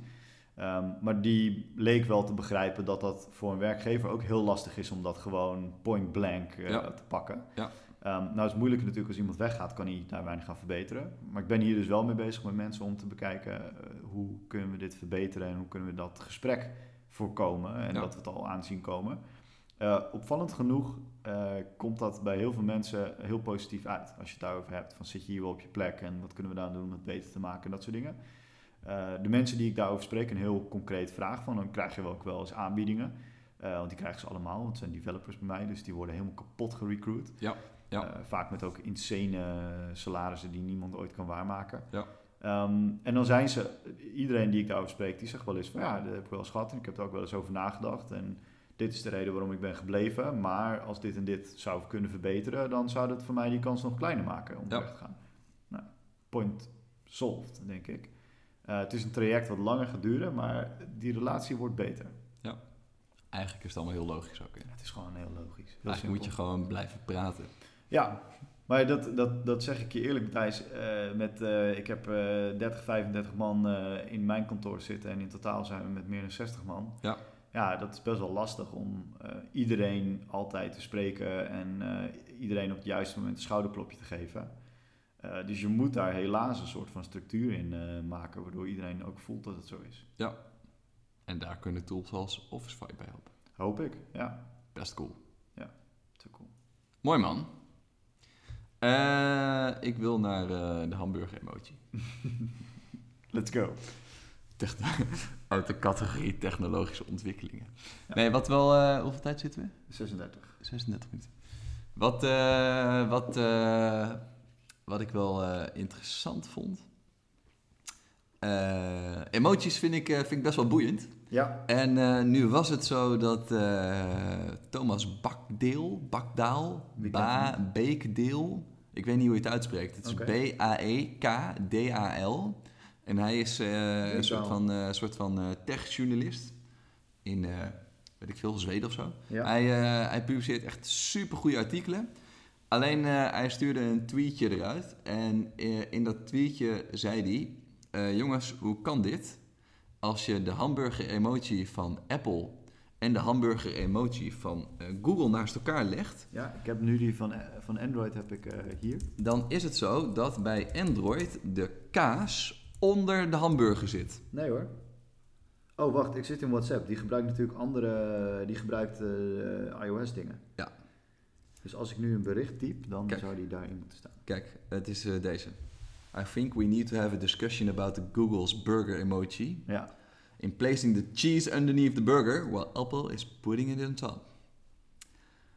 Ehm, maar die leek wel te begrijpen dat dat voor een werkgever ook heel lastig is om dat gewoon point blank eh, Ja. te pakken. Ja. Ehm, nou is het moeilijker natuurlijk als iemand weggaat, kan hij daar weinig aan verbeteren. Maar ik ben hier dus wel mee bezig met mensen om te bekijken eh, hoe kunnen we dit verbeteren en hoe kunnen we dat gesprek voorkomen en Ja. dat we het al aanzien komen. Eh, opvallend genoeg eh, komt dat bij heel veel mensen heel positief uit. Als je het daarover hebt, van zit je hier wel op je plek en wat kunnen we daar doen om het beter te maken en dat soort dingen. Eh, de mensen die ik daarover spreek, een heel concreet vraag van, dan krijg je wel ook wel eens aanbiedingen. Eh, want die krijgen ze allemaal, want het zijn developers bij mij, dus die worden helemaal kapot gerecruit. Ja, ja. Eh, vaak met ook insane eh, salarissen die niemand ooit kan waarmaken. Ja. Ehm, en dan zijn ze, iedereen die ik daarover spreek, die zegt wel eens van ja, dat heb ik wel eens gehad en ik heb er ook wel eens over nagedacht. En dit is de reden waarom ik ben gebleven. Maar als dit en dit zou kunnen verbeteren, dan zou dat voor mij die kans nog kleiner maken om Ja. weg te gaan. Nou, point solved, denk ik. Eh, het is een traject wat langer gaat duren, maar die relatie wordt beter. Eigenlijk is het allemaal heel logisch ook. Hè? Het is gewoon heel logisch. Heel Eigenlijk moet je simpel. gewoon blijven praten. Ja, maar dat, dat, dat zeg ik je eerlijk, Thijs. Eh, met, eh, ik heb eh 30, 35 man eh, in mijn kantoor zitten en in totaal zijn we met meer dan 60 man. Ja. ja, dat is best wel lastig om eh, iedereen altijd te spreken en eh, iedereen op het juiste moment een schouderklopje te geven. Eh, dus je moet daar helaas een soort van structuur in eh, maken, waardoor iedereen ook voelt dat het zo is. En daar kunnen tools als OfficeVibe bij helpen. Hoop ik, ja. Best cool. Te cool. Mooi man. Eh, ik wil naar eh, de hamburger emoji. Let's go. Uit de categorie technologische ontwikkelingen. Ja. Nee, wat wel... eh, hoeveel tijd zitten we? 36. 36 minuten. Wat, eh, wat, eh, wat ik wel eh, interessant vond... Eh, emoties vind ik, eh, vind ik best wel boeiend. Ja. En eh, nu was het zo dat eh, Thomas Bakdeel, Bakdaal, Wie kent ba, Beekdeel, ik weet niet hoe je het uitspreekt. Het is E Oké. B-A-E-K-D-A-L. En hij is eh, Beekdaal. een soort van, eh, soort van eh, techjournalist in, eh, weet ik veel, Zweden of zo. ja. Hij, eh, hij publiceert echt supergoeie artikelen. Alleen eh, hij stuurde een tweetje eruit. En eh, in dat tweetje zei hij... eh, jongens, hoe kan dit? Als je de hamburger-emoji van Apple en de hamburger-emoji van eh, Google naast elkaar legt... Ja, ik heb nu die van, eh, van Android heb ik eh, hier. dan is het zo dat bij Android de kaas onder de hamburger zit. Nee hoor. Oh, wacht, ik zit in WhatsApp. Die gebruikt natuurlijk andere. Die gebruikt eh, iOS-dingen. Ja. Dus als ik nu een bericht typ, dan Kijk. zou die daarin moeten staan. Kijk, het is eh, deze. I think we need to have a discussion about the Google's burger emoji... Ja. in placing the cheese underneath the burger, while Apple is putting it on top.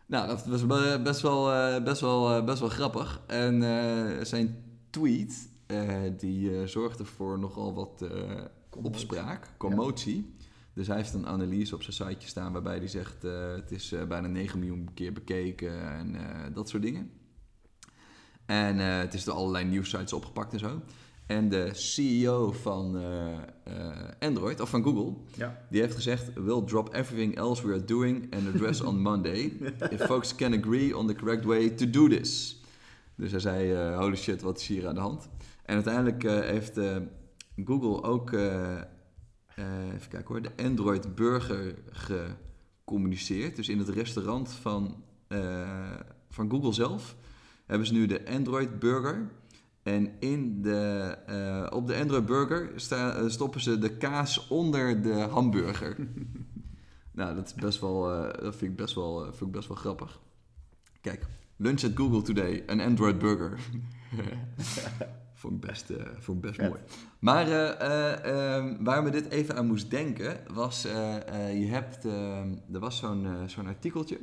Nou, dat was be- best wel, eh, best wel, eh, best wel grappig. En eh, zijn tweet, eh, die eh, zorgde voor nogal wat eh, opspraak, commotie. Dus hij heeft een analyse op zijn siteje staan waarbij hij zegt... eh, het is eh, bijna 9 miljoen keer bekeken en eh, dat soort dingen. En eh, het is door allerlei nieuwsites opgepakt en zo. En de CEO van eh, eh, Android, of van Google, Ja. die heeft gezegd: We'll drop everything else we are doing and address on Monday. If folks can agree on the correct way to do this. Dus hij zei: eh, Holy shit, wat is hier aan de hand? En uiteindelijk eh, heeft eh, Google ook, eh, eh, even kijken hoor, de Android burger gecommuniceerd. Dus in het restaurant van, eh, van Google zelf hebben ze nu de Android burger. En in de, eh, op de Android Burger sta- eh, stoppen ze de kaas onder de hamburger. nou, dat, is best wel, eh, dat vind, ik best wel, eh, vind ik best wel grappig. Kijk, lunch at Google today, een Android Burger. vond ik best, eh, vond ik best Vet. mooi. Maar eh, eh, eh, waar me dit even aan moest denken, was... eh, eh, je hebt, eh, er was zo'n eh, zo'n artikeltje...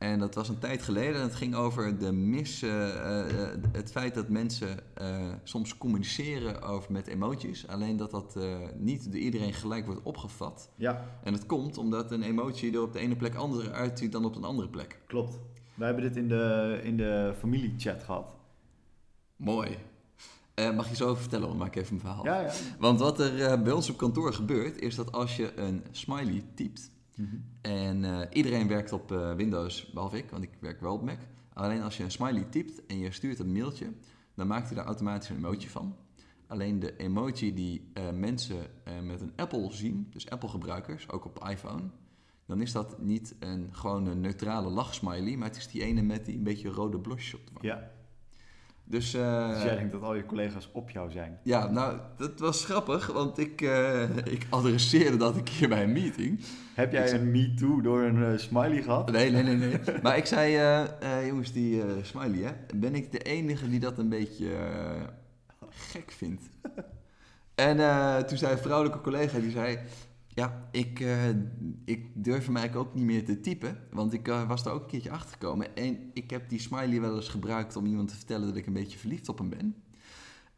En dat was een tijd geleden. En het ging over de mis, eh, eh, het feit dat mensen eh, soms communiceren over, met emoties. Alleen dat dat eh, niet door iedereen gelijk wordt opgevat. ja, En dat komt omdat een emotie er op de ene plek anders uitziet dan op een andere plek. klopt. Wij hebben dit in de, in de familiechat gehad. Mooi. Eh, mag je zo over vertellen, want dan maak ik even een verhaal. Ja, ja. Want wat er eh, bij ons op kantoor gebeurt, is dat als je een smiley typt, Mhm. En eh, iedereen werkt op eh, Windows, behalve ik, want ik werk wel op Mac. Alleen als je een smiley typt en je stuurt een mailtje, dan maakt hij daar automatisch een emoji van. Alleen de emoji die eh, mensen eh, met een Apple zien, dus Apple-gebruikers, ook op iPhone, dan is dat niet een gewoon een neutrale lachsmiley, maar het is die ene met die een beetje rode blush op de wang. Ja, Dus, eh, dus jij denkt dat al je collega's op jou zijn. ja, nou, dat was grappig, want ik, eh, ik adresseerde dat een keer bij een meeting. Heb jij een me too door een eh, smiley gehad? Nee, nee, nee, nee. Maar ik zei, eh, eh, jongens, die eh, smiley, hè, ben ik de enige die dat een beetje eh, gek vindt? En eh, toen zei een vrouwelijke collega, die zei, ja, ik, eh, ik durf hem eigenlijk ook niet meer te typen, want ik eh, was daar ook een keertje achter gekomen. En ik heb die smiley wel eens gebruikt om iemand te vertellen dat ik een beetje verliefd op hem ben.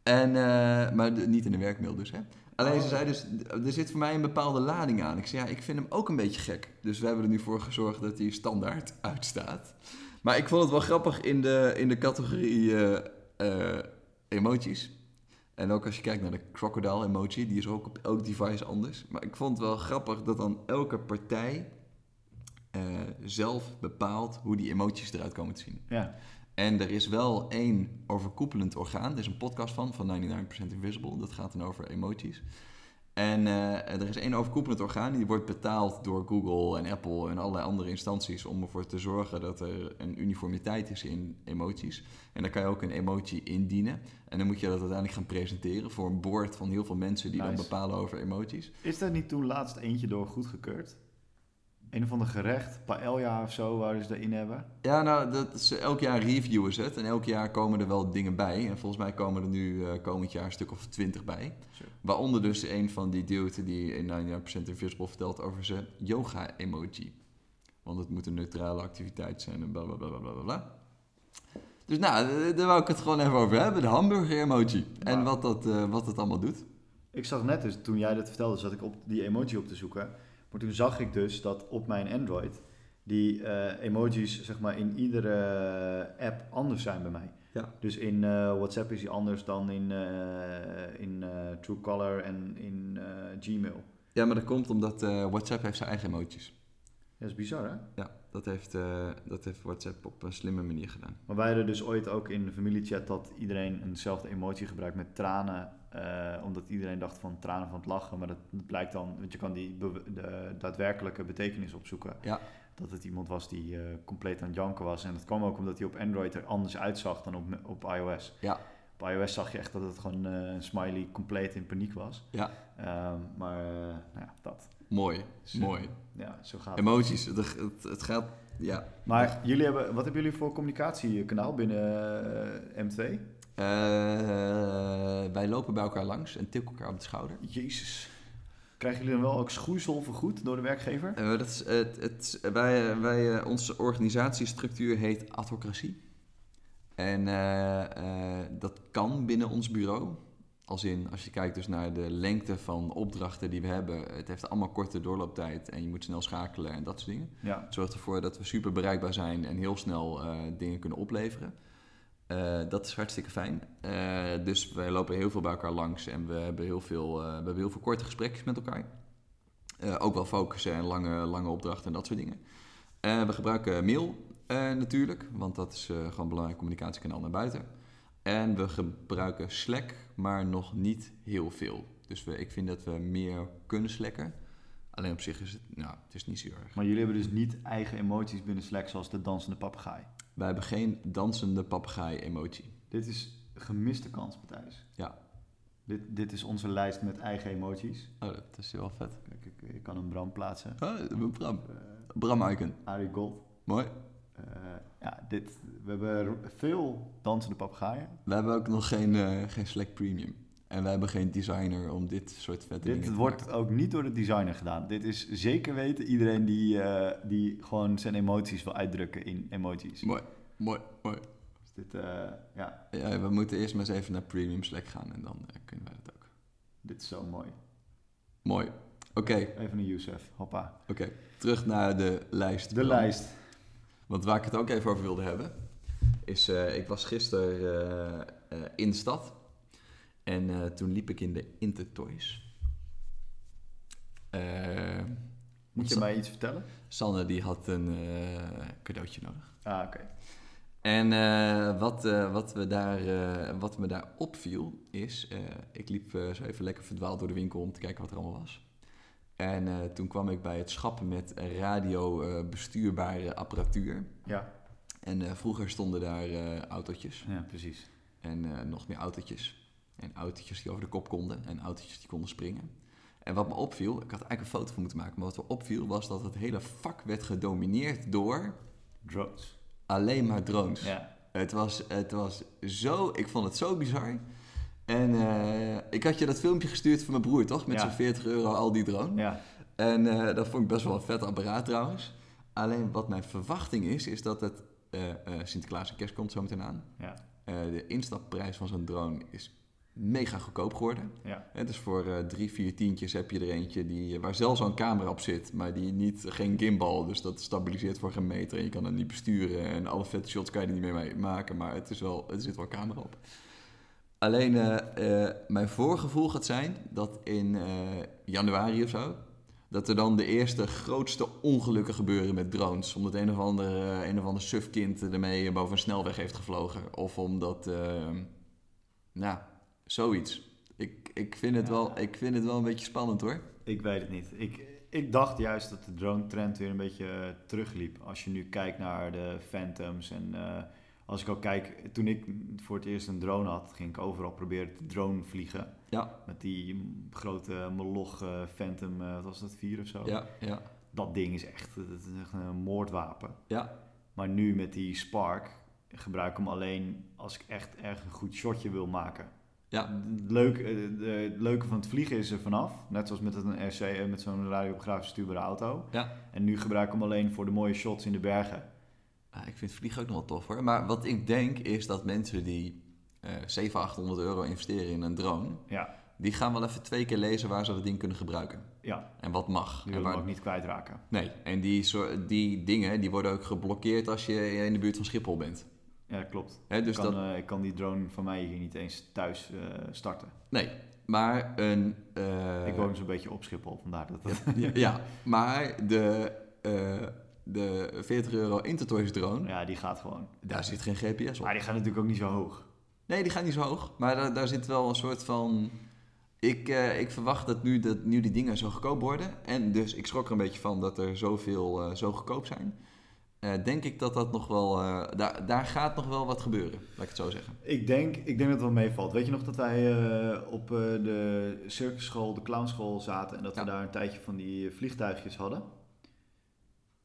En, eh, maar de- niet in de werkmail dus, hè. Alleen ze Oh. zei dus, er zit voor mij een bepaalde lading aan. Ik zei, ja, ik vind hem ook een beetje gek. Dus we hebben er nu voor gezorgd dat hij standaard uitstaat. Maar ik vond het wel grappig in de, in de categorie eh, eh, emoties. En ook als je kijkt naar de crocodile emoji, die is ook op elk device anders. Maar ik vond het wel grappig dat dan elke partij eh, zelf bepaalt hoe die emoties eruit komen te zien. Ja. En er is wel één overkoepelend orgaan. Er is een podcast van, van 99% Invisible. Dat gaat dan over emoties. En eh, er is één overkoepelend orgaan, die wordt betaald door Google en Apple en allerlei andere instanties om ervoor te zorgen dat er een uniformiteit is in emoties. En daar kan je ook een emotie indienen. En dan moet je dat uiteindelijk gaan presenteren voor een board van heel veel mensen die dan Nice. bepalen over emoties. Is daar niet toen laatst eentje door goedgekeurd? Een of ander gerecht, paella of zo, waar ze dat in hebben. Ja, nou, dat is, elk jaar reviewen ze het en elk jaar komen er wel dingen bij. En volgens mij komen er nu eh, komend jaar een stuk of twintig bij. Zo. Waaronder dus een van die dude die in 99% Invisible vertelt over zijn yoga-emoji. Want het moet een neutrale activiteit zijn en bla bla bla bla bla, bla. bla. Dus nou, eh, daar wou ik het gewoon even over hebben. De hamburger-emoji. En Wauw. wat dat, eh, wat dat allemaal doet. Ik zag net dus, toen jij dat vertelde, zat ik op die emoji op te zoeken. Maar toen zag ik dus dat op mijn Android die eh, emojis zeg maar in iedere app anders zijn bij mij. Ja. Dus in eh, WhatsApp is die anders dan in, eh, in eh, Truecaller en in eh, Gmail. Ja, maar dat komt omdat eh, WhatsApp heeft zijn eigen emojis. Dat is bizar hè? Ja, dat heeft, eh, dat heeft WhatsApp op een slimme manier gedaan. Maar wij hadden dus ooit ook in de familiechat dat iedereen eenzelfde emotie gebruikt met tranen. eh, omdat iedereen dacht van tranen van het lachen. Maar dat, dat blijkt dan, want je kan die be- de daadwerkelijke betekenis opzoeken. Ja. Dat het iemand was die eh, compleet aan het janken was. En dat kwam ook omdat hij op Android er anders uitzag dan op, op iOS. Ja. Op iOS zag je echt dat het gewoon eh, een smiley compleet in paniek was. Ja. Ehm, maar eh, nou ja, dat. Mooi, Zo. mooi. Ja, zo gaat het. Emoties, het, het, het gaat... Ja, Maar jullie hebben, wat hebben jullie voor communicatiekanaal binnen eh, M2? Eh, wij lopen bij elkaar langs en tikken elkaar op de schouder. Jezus. Krijgen jullie dan wel ook schoeisel vergoed door de werkgever? Eh, dat is, het, het, wij, eh, wij, eh, onze organisatiestructuur heet adhocratie. En eh, eh, dat kan binnen ons bureau. Als in, als je kijkt dus naar de lengte van opdrachten die we hebben. Het heeft allemaal korte doorlooptijd en je moet snel schakelen en dat soort dingen. Ja. Het zorgt ervoor dat we super bereikbaar zijn en heel snel eh, dingen kunnen opleveren. Eh, dat is hartstikke fijn. Eh, dus wij lopen heel veel bij elkaar langs en we hebben heel veel, eh, we hebben heel veel korte gesprekjes met elkaar. Eh, ook wel focussen en lange, lange opdrachten en dat soort dingen. Eh, we gebruiken mail eh, natuurlijk, want dat is eh, gewoon een belangrijk communicatiekanaal naar buiten. En we gebruiken Slack, maar nog niet heel veel. Dus we, ik vind dat we meer kunnen slacken. Alleen op zich is het, nou, het is niet zo erg. Maar jullie hebben dus niet eigen emoties binnen Slack zoals de dansende papegaai. Wij hebben geen dansende papegaai-emoji. Dit is gemiste kans, Matthijs. Ja. Dit, dit is onze lijst met eigen emoties. Oh, dat is wel vet. Kijk, ik, ik kan een Bram plaatsen. Oh, Bram. Eh Bram-icon. Arie Gold. Mooi. Eh, ja, dit, we hebben veel dansende papegaaien. We hebben ook nog geen, eh, geen Slack Premium. En we hebben geen designer om dit soort vette dingen Dit te wordt maken. ook niet door de designer gedaan. Dit is zeker weten iedereen die, eh, die gewoon zijn emoties wil uitdrukken in emoties. Mooi, mooi, mooi. Dus dit, eh, ja, Ja, we moeten eerst maar eens even naar Premium Slack gaan en dan eh, kunnen wij dat ook. Dit is zo mooi. Mooi. Oké, Even een Youssef, hoppa. oké. Terug naar de lijst. De Bram. lijst. Want waar ik het ook even over wilde hebben, is eh, ik was gisteren eh, eh, in de stad. En eh, toen liep ik in de Intertoys. Eh Moet je Sa- mij iets vertellen? Sanne die had een eh, cadeautje nodig. Ah, oké. En eh, wat, eh, wat, we daar, eh, wat me daar opviel is, eh, ik liep eh, zo even lekker verdwaald door de winkel om te kijken wat er allemaal was. En eh, toen kwam ik bij het schap met radio eh, bestuurbare apparatuur. Ja. En eh, vroeger stonden daar eh, autootjes ja, precies. en eh, nog meer autootjes. En autootjes die over de kop konden en autootjes die konden springen. En wat me opviel, ik had eigenlijk een foto van moeten maken, maar wat me opviel was dat het hele vak werd gedomineerd door Drones. alleen maar drones. Ja. Het, was, het was zo, ik vond het zo bizar. En eh, ik had je dat filmpje gestuurd van mijn broer, toch? Met Ja. zijn 40 euro al die drone. Ja. En eh, dat vond ik best wel een vet apparaat trouwens. Alleen wat mijn verwachting is, is dat het eh, eh, Sinterklaas en kerst komt zo meteen aan. Ja. Eh, de instapprijs van zo'n drone is mega goedkoop geworden. Ja. Het is voor eh, drie, vier tientjes heb je er eentje die, eh, waar zelfs al een camera op zit, maar die niet, geen gimbal, dus dat stabiliseert voor geen meter en je kan het niet besturen en alle vette shots kan je er niet meer mee maken, maar het is wel, er zit wel een camera op. Alleen eh, eh, mijn voorgevoel gaat zijn dat in eh, januari of zo, dat er dan de eerste grootste ongelukken gebeuren met drones. Omdat een of ander, eh, een of ander sufkind ermee boven een snelweg heeft gevlogen. Of omdat, eh, nou, ehm, zoiets. Ik, ik, vind het wel, ik vind het wel een beetje spannend hoor. Ik weet het niet. Ik, ik dacht juist dat de drone trend weer een beetje eh, terugliep. Als je nu kijkt naar de Phantoms en eh, als ik al kijk, toen ik voor het eerst een drone had, ging ik overal proberen te drone vliegen. Ja. Met die mm, grote Moloch eh, Phantom, eh, wat was dat, 4 of zo? Ja, ja, Dat ding is echt, dat is echt een moordwapen. ja. Maar nu met die Spark gebruik ik hem alleen als ik echt erg een goed shotje wil maken. Ja. Het leuke, eh, eh, het leuke van het vliegen is er vanaf. Net zoals met een RC, eh, met zo'n radiografisch stuurbare auto. Ja. En nu gebruik ik hem alleen voor de mooie shots in de bergen. Ah, ik vind vliegen ook nog wel tof hoor. Maar wat ik denk is dat mensen die eh 700, 800 euro investeren in een drone, Ja, die gaan wel even twee keer lezen waar ze dat ding kunnen gebruiken. ja En wat mag. die En wil waar hem ook niet kwijtraken. Nee, en die, soort- die dingen die worden ook geblokkeerd als je in de buurt van Schiphol bent. Ja, klopt. Hè, dus ik, kan, dat, eh, ik kan die drone van mij hier niet eens thuis eh, starten. nee, maar een... eh, ik woon zo'n beetje op Schiphol, vandaar dat dat... ja, ja, maar de, eh, de 40 euro Intertoys drone, Ja, die gaat gewoon. daar zit geen GPS op. Maar die gaat natuurlijk ook niet zo hoog. Nee, die gaat niet zo hoog, maar daar, daar zit wel een soort van... Ik, eh, ik verwacht dat nu, dat nu die dingen zo goedkoop worden. En dus ik schrok er een beetje van dat er zoveel eh, zo goedkoop zijn. Eh, denk ik dat dat nog wel... eh, daar, daar gaat nog wel wat gebeuren, laat ik het zo zeggen. Ik denk, ik denk dat het wel meevalt. Weet je nog dat wij eh, op eh, de circusschool, de clownschool zaten en dat Ja. we daar een tijdje van die eh, vliegtuigjes hadden?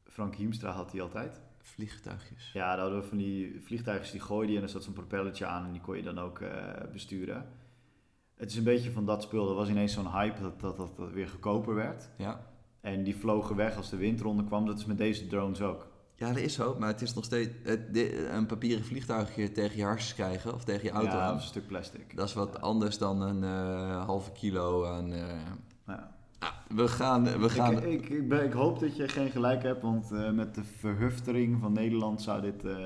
Frank Hiemstra had die altijd. Vliegtuigjes. Ja, daar hadden we van die vliegtuigjes die gooiden en er zat zo'n propellertje aan en die kon je dan ook eh, besturen. Het is een beetje van dat spul. Er was ineens zo'n hype dat dat, dat dat weer goedkoper werd. Ja. En die vlogen weg als de windronde kwam. Dat is met deze drones ook. ja, dat is zo, maar het is nog steeds... het- di- een papieren vliegtuigje tegen je hartjes krijgen of tegen je auto Ja, aan. dat is een stuk plastic. Dat is wat anders dan een eh, halve kilo aan... eh, Ja. ah, we gaan... We gaan Ik, ik, ik, ben, ik hoop dat je geen gelijk hebt, want eh, met de verhuftering van Nederland zou dit eh,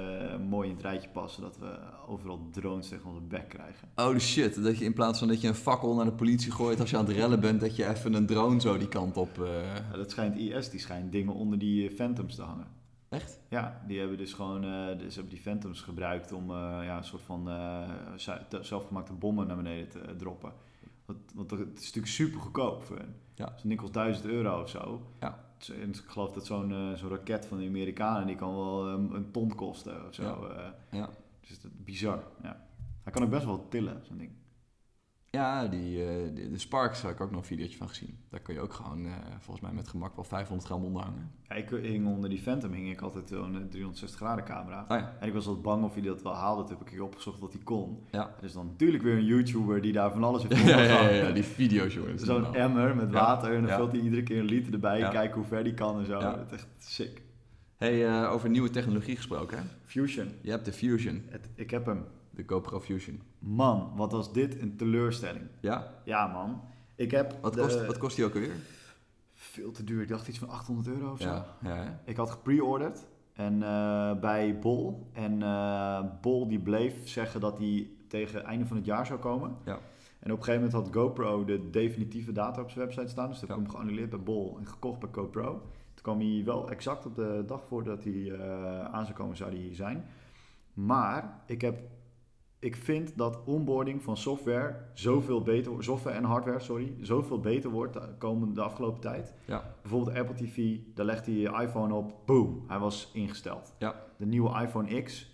mooi in het rijtje passen. Dat we overal drones tegen onze bek krijgen. Oh shit, dat je in plaats van dat je een fakkel naar de politie gooit als je aan het rellen bent, dat je even een drone zo die kant op. eh, Ja, dat schijnt IS, die schijnt dingen onder die eh, Phantoms te hangen. Echt? Ja, die hebben dus gewoon eh, dus hebben die Phantoms gebruikt om eh, ja, een soort van eh, zu- te- zelfgemaakte bommen naar beneden te eh, droppen. Want, want het is natuurlijk super goedkoop voor hen. Dus Ja. Het is nikkels 1000 euro of zo. Ja. Het is- en Ik geloof dat zo'n eh, zo'n raket van de Amerikanen, die kan wel eh, een ton kosten of zo. Ja. eh. Ja. Dus dat is bizar. Ja. Hij kan ook best wel tillen, zo'n ding. Ja, die, eh, de, de Sparks had ik ook nog een videootje van gezien. Daar kun je ook gewoon eh, volgens mij met gemak wel 500 gram onderhangen. Ja, ik eh, hing onder die Phantom hing ik altijd zo'n eh, 360 graden camera. Oh ja, En ik was wel bang of hij dat wel haalde. Toen heb ik een keer opgezocht dat hij kon. Ja. Dus dan natuurlijk weer een YouTuber die daar van alles heeft ja, ja, ja, ondergaan. ja, die video's jongens. Zo'n emmer met Ja, water en dan ja. vult hij iedere keer een liter erbij. Ja. Kijken hoe ver die kan en zo. Ja. Dat is echt sick. Hey, eh, over nieuwe technologie gesproken. Hè? Fusion. Je hebt de Fusion, Het, ik heb hem. de GoPro Fusion. Man, wat was dit een teleurstelling. Ja? Ja man. Ik heb Wat de- kost, wat kost die ook alweer? Veel te duur. Ik dacht iets van 800 euro of zo. Ja, ja, hè? Ik had gepre-orderd en, eh, bij Bol. En eh, Bol die bleef zeggen dat die tegen het einde van het jaar zou komen. Ja. En op een gegeven moment had GoPro de definitieve data op zijn website staan. Dus toen Ja. heb ik hem geannuleerd bij Bol en gekocht bij GoPro. Toen kwam hij wel exact op de dag voordat hij eh, aan zou komen, zou hij hier zijn. Maar ik, heb, ik vind dat onboarding van software zoveel beter, software en hardware, sorry, zoveel beter wordt de, komende, de afgelopen tijd. Ja, Bijvoorbeeld Apple TV, daar legt hij je iPhone op, boom, hij was ingesteld. Ja. De nieuwe iPhone X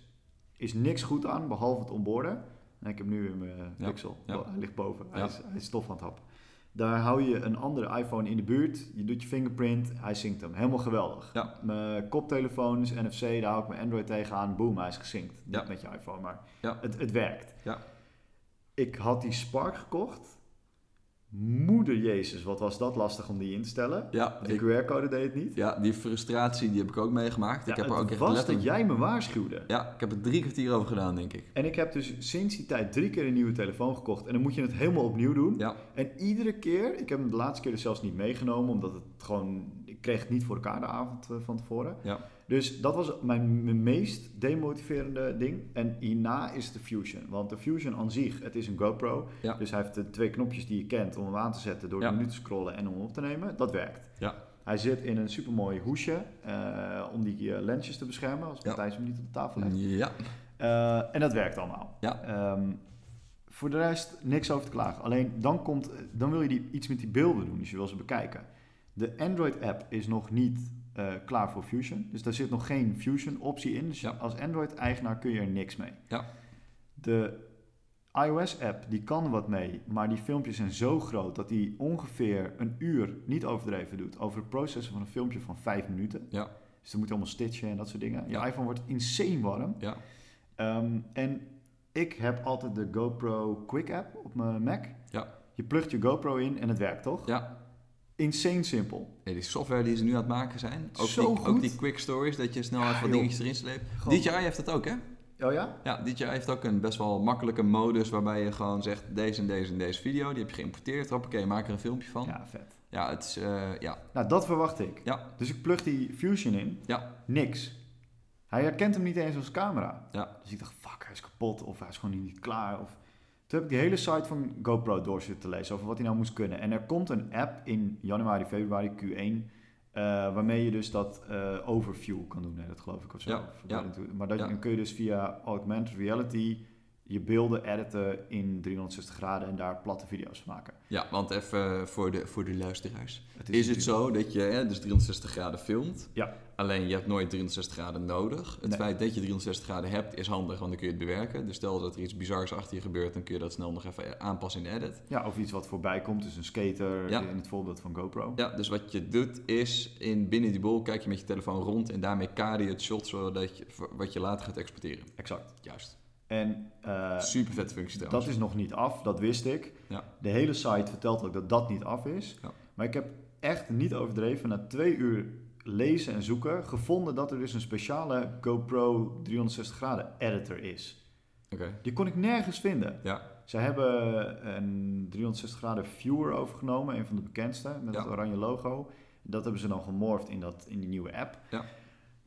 is niks goed aan, behalve het onboarden. En ik heb nu in mijn Ja, pixel, ja. Bo- hij ligt boven, hij, Ja. is, hij is stof aan het happen. Daar hou je een andere iPhone in de buurt, je doet je fingerprint, hij zinkt hem. Helemaal geweldig. Ja. Mijn koptelefoon is NFC, daar hou ik mijn Android tegenaan, boom, hij is gezinkt. Ja. Niet met je iPhone, maar Ja. het, het werkt. Ja. Ik had die Spark gekocht. Moeder Jezus, wat was dat lastig om die in te stellen. ja, De ik- QR-code deed het niet. ja, die frustratie die heb ik ook meegemaakt. ik Ja, heb er ook het echt was letterlijk... dat jij me waarschuwde. Ja, ik heb er drie kwartier over gedaan, denk ik. En ik heb dus sinds die tijd drie keer een nieuwe telefoon gekocht. En dan moet je het helemaal opnieuw doen. Ja. En iedere keer, ik heb hem de laatste keer dus zelfs niet meegenomen. Omdat het gewoon, ik kreeg het niet voor elkaar de avond eh, van tevoren. Ja. Dus dat was mijn, mijn meest demotiverende ding. En hierna is de Fusion. Want de Fusion aan zich, het is een GoPro. Ja. Dus hij heeft de twee knopjes die je kent om hem aan te zetten. Door Ja. de menu te scrollen en om hem op te nemen. Dat werkt. Ja. Hij zit in een supermooi hoesje eh, om die eh, lensjes te beschermen. Als Ja. Matthijs hem niet op de tafel legt. Ja, Eh, en dat werkt allemaal. Ja. Ehm, Voor de rest niks over te klagen. Alleen dan, komt, dan wil je die, iets met die beelden doen, dus je wil ze bekijken. De Android-app is nog niet eh, klaar voor Fusion. Dus daar zit nog geen Fusion-optie in. Dus Ja. als Android-eigenaar kun je er niks mee. Ja. De iOS-app, die kan wat mee, maar die filmpjes zijn zo groot dat die ongeveer een uur, niet overdreven, doet over het processen van een filmpje van vijf minuten. Ja. Dus er moet allemaal stitchen en dat soort dingen. Je Ja. iPhone wordt insane warm. Ja. Ehm, en ik heb altijd de GoPro Quick App op mijn Mac. Ja. Je plugt je GoPro in en het werkt toch? Ja. Insane simpel. Nee, die software die ze nu aan het maken zijn. Ook, Zo die, ook goed. die quick stories, dat je snel even wat joh. dingetjes erin sleept. Gewoon- DJI heeft dat ook, hè? Oh ja? Ja, DJI heeft ook een best wel makkelijke modus waarbij je gewoon zegt deze en deze en deze video, die heb je geïmporteerd, hoppakee, maak er een filmpje van. Ja, Ja, vet. het is, eh, ja, Nou, dat verwacht ik. Ja. Dus ik plug die Fusion in. Ja. Niks. Hij herkent hem niet eens als camera. Ja. Dus ik dacht, fuck, hij is kapot. Of hij is gewoon niet klaar. Of... Toen heb ik die hele site van GoPro door zitten te lezen over wat hij nou moest kunnen. En er komt een app in januari, februari, Q1. eh, waarmee je dus dat eh, overview kan doen. Hè, dat geloof ik of zo. Ja, Of ja. dat- Maar dat, Ja. dan kun je dus via augmented reality je beelden editen in 360 graden en daar platte video's van maken. ja want even eh, voor de, voor de luisteraars. Het Is het natuurlijk- zo dat je hè, dus 360 graden filmt, Ja. alleen je hebt nooit 360 graden nodig. Het Nee. feit dat je 360 graden hebt is handig, want dan kun je het bewerken. Dus stel dat er iets bizars achter je gebeurt, dan kun je dat snel nog even aanpassen in de edit. Ja, of iets wat voorbij komt, dus een skater Ja. in het voorbeeld van GoPro. Ja, dus wat je doet is in binnen die bol kijk je met je telefoon rond en daarmee kader je het shot zodat je voor- wat je later gaat exporteren. Exact. Juist. En eh, Super vet functie dat trouwens. is nog niet af, dat wist ik. Ja. De hele site vertelt ook dat dat niet af is. Ja. Maar ik heb echt niet overdreven, na twee uur lezen en zoeken, gevonden dat er dus een speciale GoPro 360 graden editor is. Oké. Die kon ik nergens vinden. Ja. Ze hebben een 360 graden viewer overgenomen, een van de bekendste, met Ja. het oranje logo. Dat hebben ze dan gemorfd in, dat, in die nieuwe app. Ja.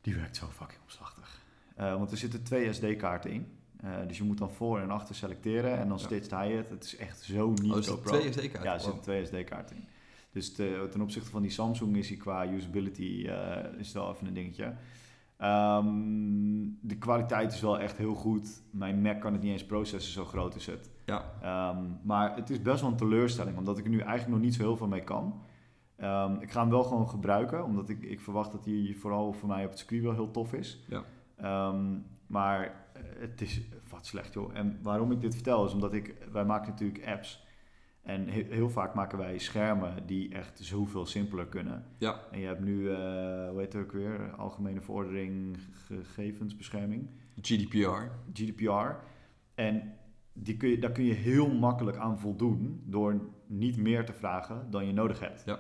Die werkt zo fucking omslachtig. Eh, want er zitten twee SD-kaarten in. Eh, dus je moet dan voor en achter selecteren en dan Ja. stitcht hij het. Het is echt zo niet Oh, is dat GoPro. twee SD-kaarten? Ja, er zitten Wow. twee SD-kaarten in. Dus te- ten opzichte van die Samsung is hij qua usability eh, is wel even een dingetje. Ehm, de kwaliteit is wel echt heel goed. Mijn Mac kan het niet eens processen, zo groot is het. Ja. Ehm, maar het is best wel een teleurstelling, omdat ik er nu eigenlijk nog niet zo heel veel mee kan. Ehm, ik ga hem wel gewoon gebruiken, omdat ik, ik verwacht dat hij vooral voor mij op het circuit wel heel tof is. Ja. Ehm, maar eh, het is wat slecht joh. En waarom ik dit vertel is omdat ik, wij maken natuurlijk apps. En he- heel vaak maken wij schermen die echt zoveel simpeler kunnen. Ja. En je hebt nu, eh, hoe heet het ook weer, Algemene Verordening Gegevensbescherming. GDPR. GDPR. En die kun je, daar kun je heel makkelijk aan voldoen door niet meer te vragen dan je nodig hebt. Ja.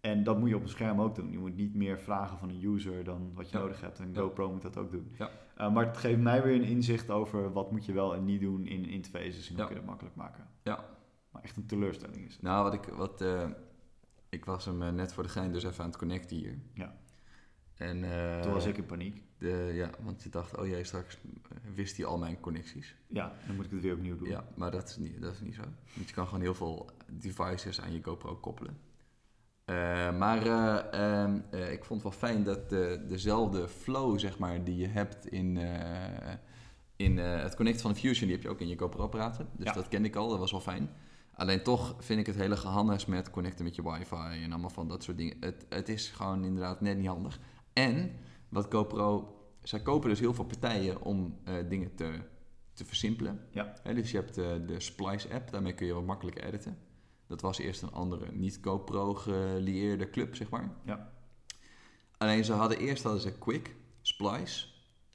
En dat moet je op een scherm ook doen. Je moet niet meer vragen van een user dan wat je Ja. nodig hebt. En Ja. GoPro moet dat ook doen. Ja. Uh, maar het geeft mij weer een inzicht over wat moet je wel en niet doen in interfaces en hoe Ja. kun je dat makkelijk maken. Ja. Maar echt een teleurstelling is het. Nou, wat ik. Wat, eh, ik was hem eh, net voor de gein dus even aan het connecten hier. Ja. En, eh, Toen was ik in paniek. De, ja, want je dacht, oh jee, straks wist hij al mijn connecties. Ja, dan moet ik het weer opnieuw doen. Ja, maar dat is, niet, dat is niet zo. Want je kan gewoon heel veel devices aan je GoPro koppelen. Eh, maar eh, ehm, eh, ik vond het wel fijn dat de, dezelfde flow, zeg maar, die je hebt in, eh, in eh, het connecten van de Fusion, die heb je ook in je GoPro-apparaten. Dus Ja. dat kende ik al, dat was wel fijn. Alleen toch vind ik het hele gehannes met connecten met je wifi en allemaal van dat soort dingen. Het, het is gewoon inderdaad net niet handig. En wat GoPro, zij kopen dus heel veel partijen om eh, dingen te, te versimpelen. Ja. Hè, dus je hebt eh, de Splice app, daarmee kun je wat makkelijker editen. Dat was eerst een andere niet GoPro gelieerde club, zeg maar. Ja. Alleen ze hadden eerst hadden ze Quick, Splice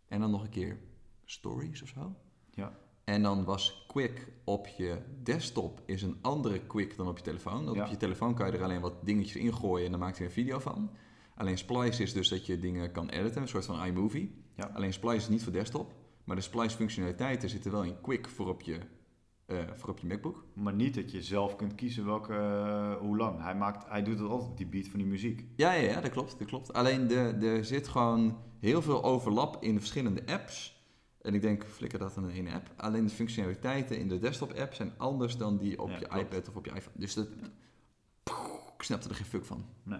en dan nog een keer Stories of zo. Ja. En dan was Quick op je desktop is een andere Quick dan op je telefoon. Want Ja. op je telefoon kan je er alleen wat dingetjes in gooien en dan maakt hij een video van. Alleen Splice is dus dat je dingen kan editen, een soort van iMovie. Ja. Alleen Splice is niet voor desktop, maar de Splice functionaliteiten zitten wel in Quick voor op je, eh, voor op je MacBook. Maar niet dat je zelf kunt kiezen welke, eh, hoe lang. Hij, maakt, hij doet het altijd op die beat van die muziek. Ja, ja, ja dat klopt. Dat klopt. Alleen de- er zit gewoon heel veel overlap in de verschillende apps. En ik denk, flikker dat in één app. Alleen de functionaliteiten in de desktop-app zijn anders dan die op Ja, je klopt. iPad of op je iPhone. Dus dat, ik snapte er geen fuck van. Nee.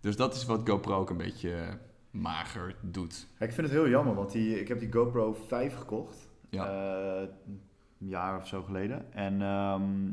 Dus dat is wat GoPro ook een beetje eh, mager doet. Ja, Ik vind het heel jammer, want die, ik heb die GoPro 5 gekocht. Ja. Eh, een jaar of zo geleden. En ehm,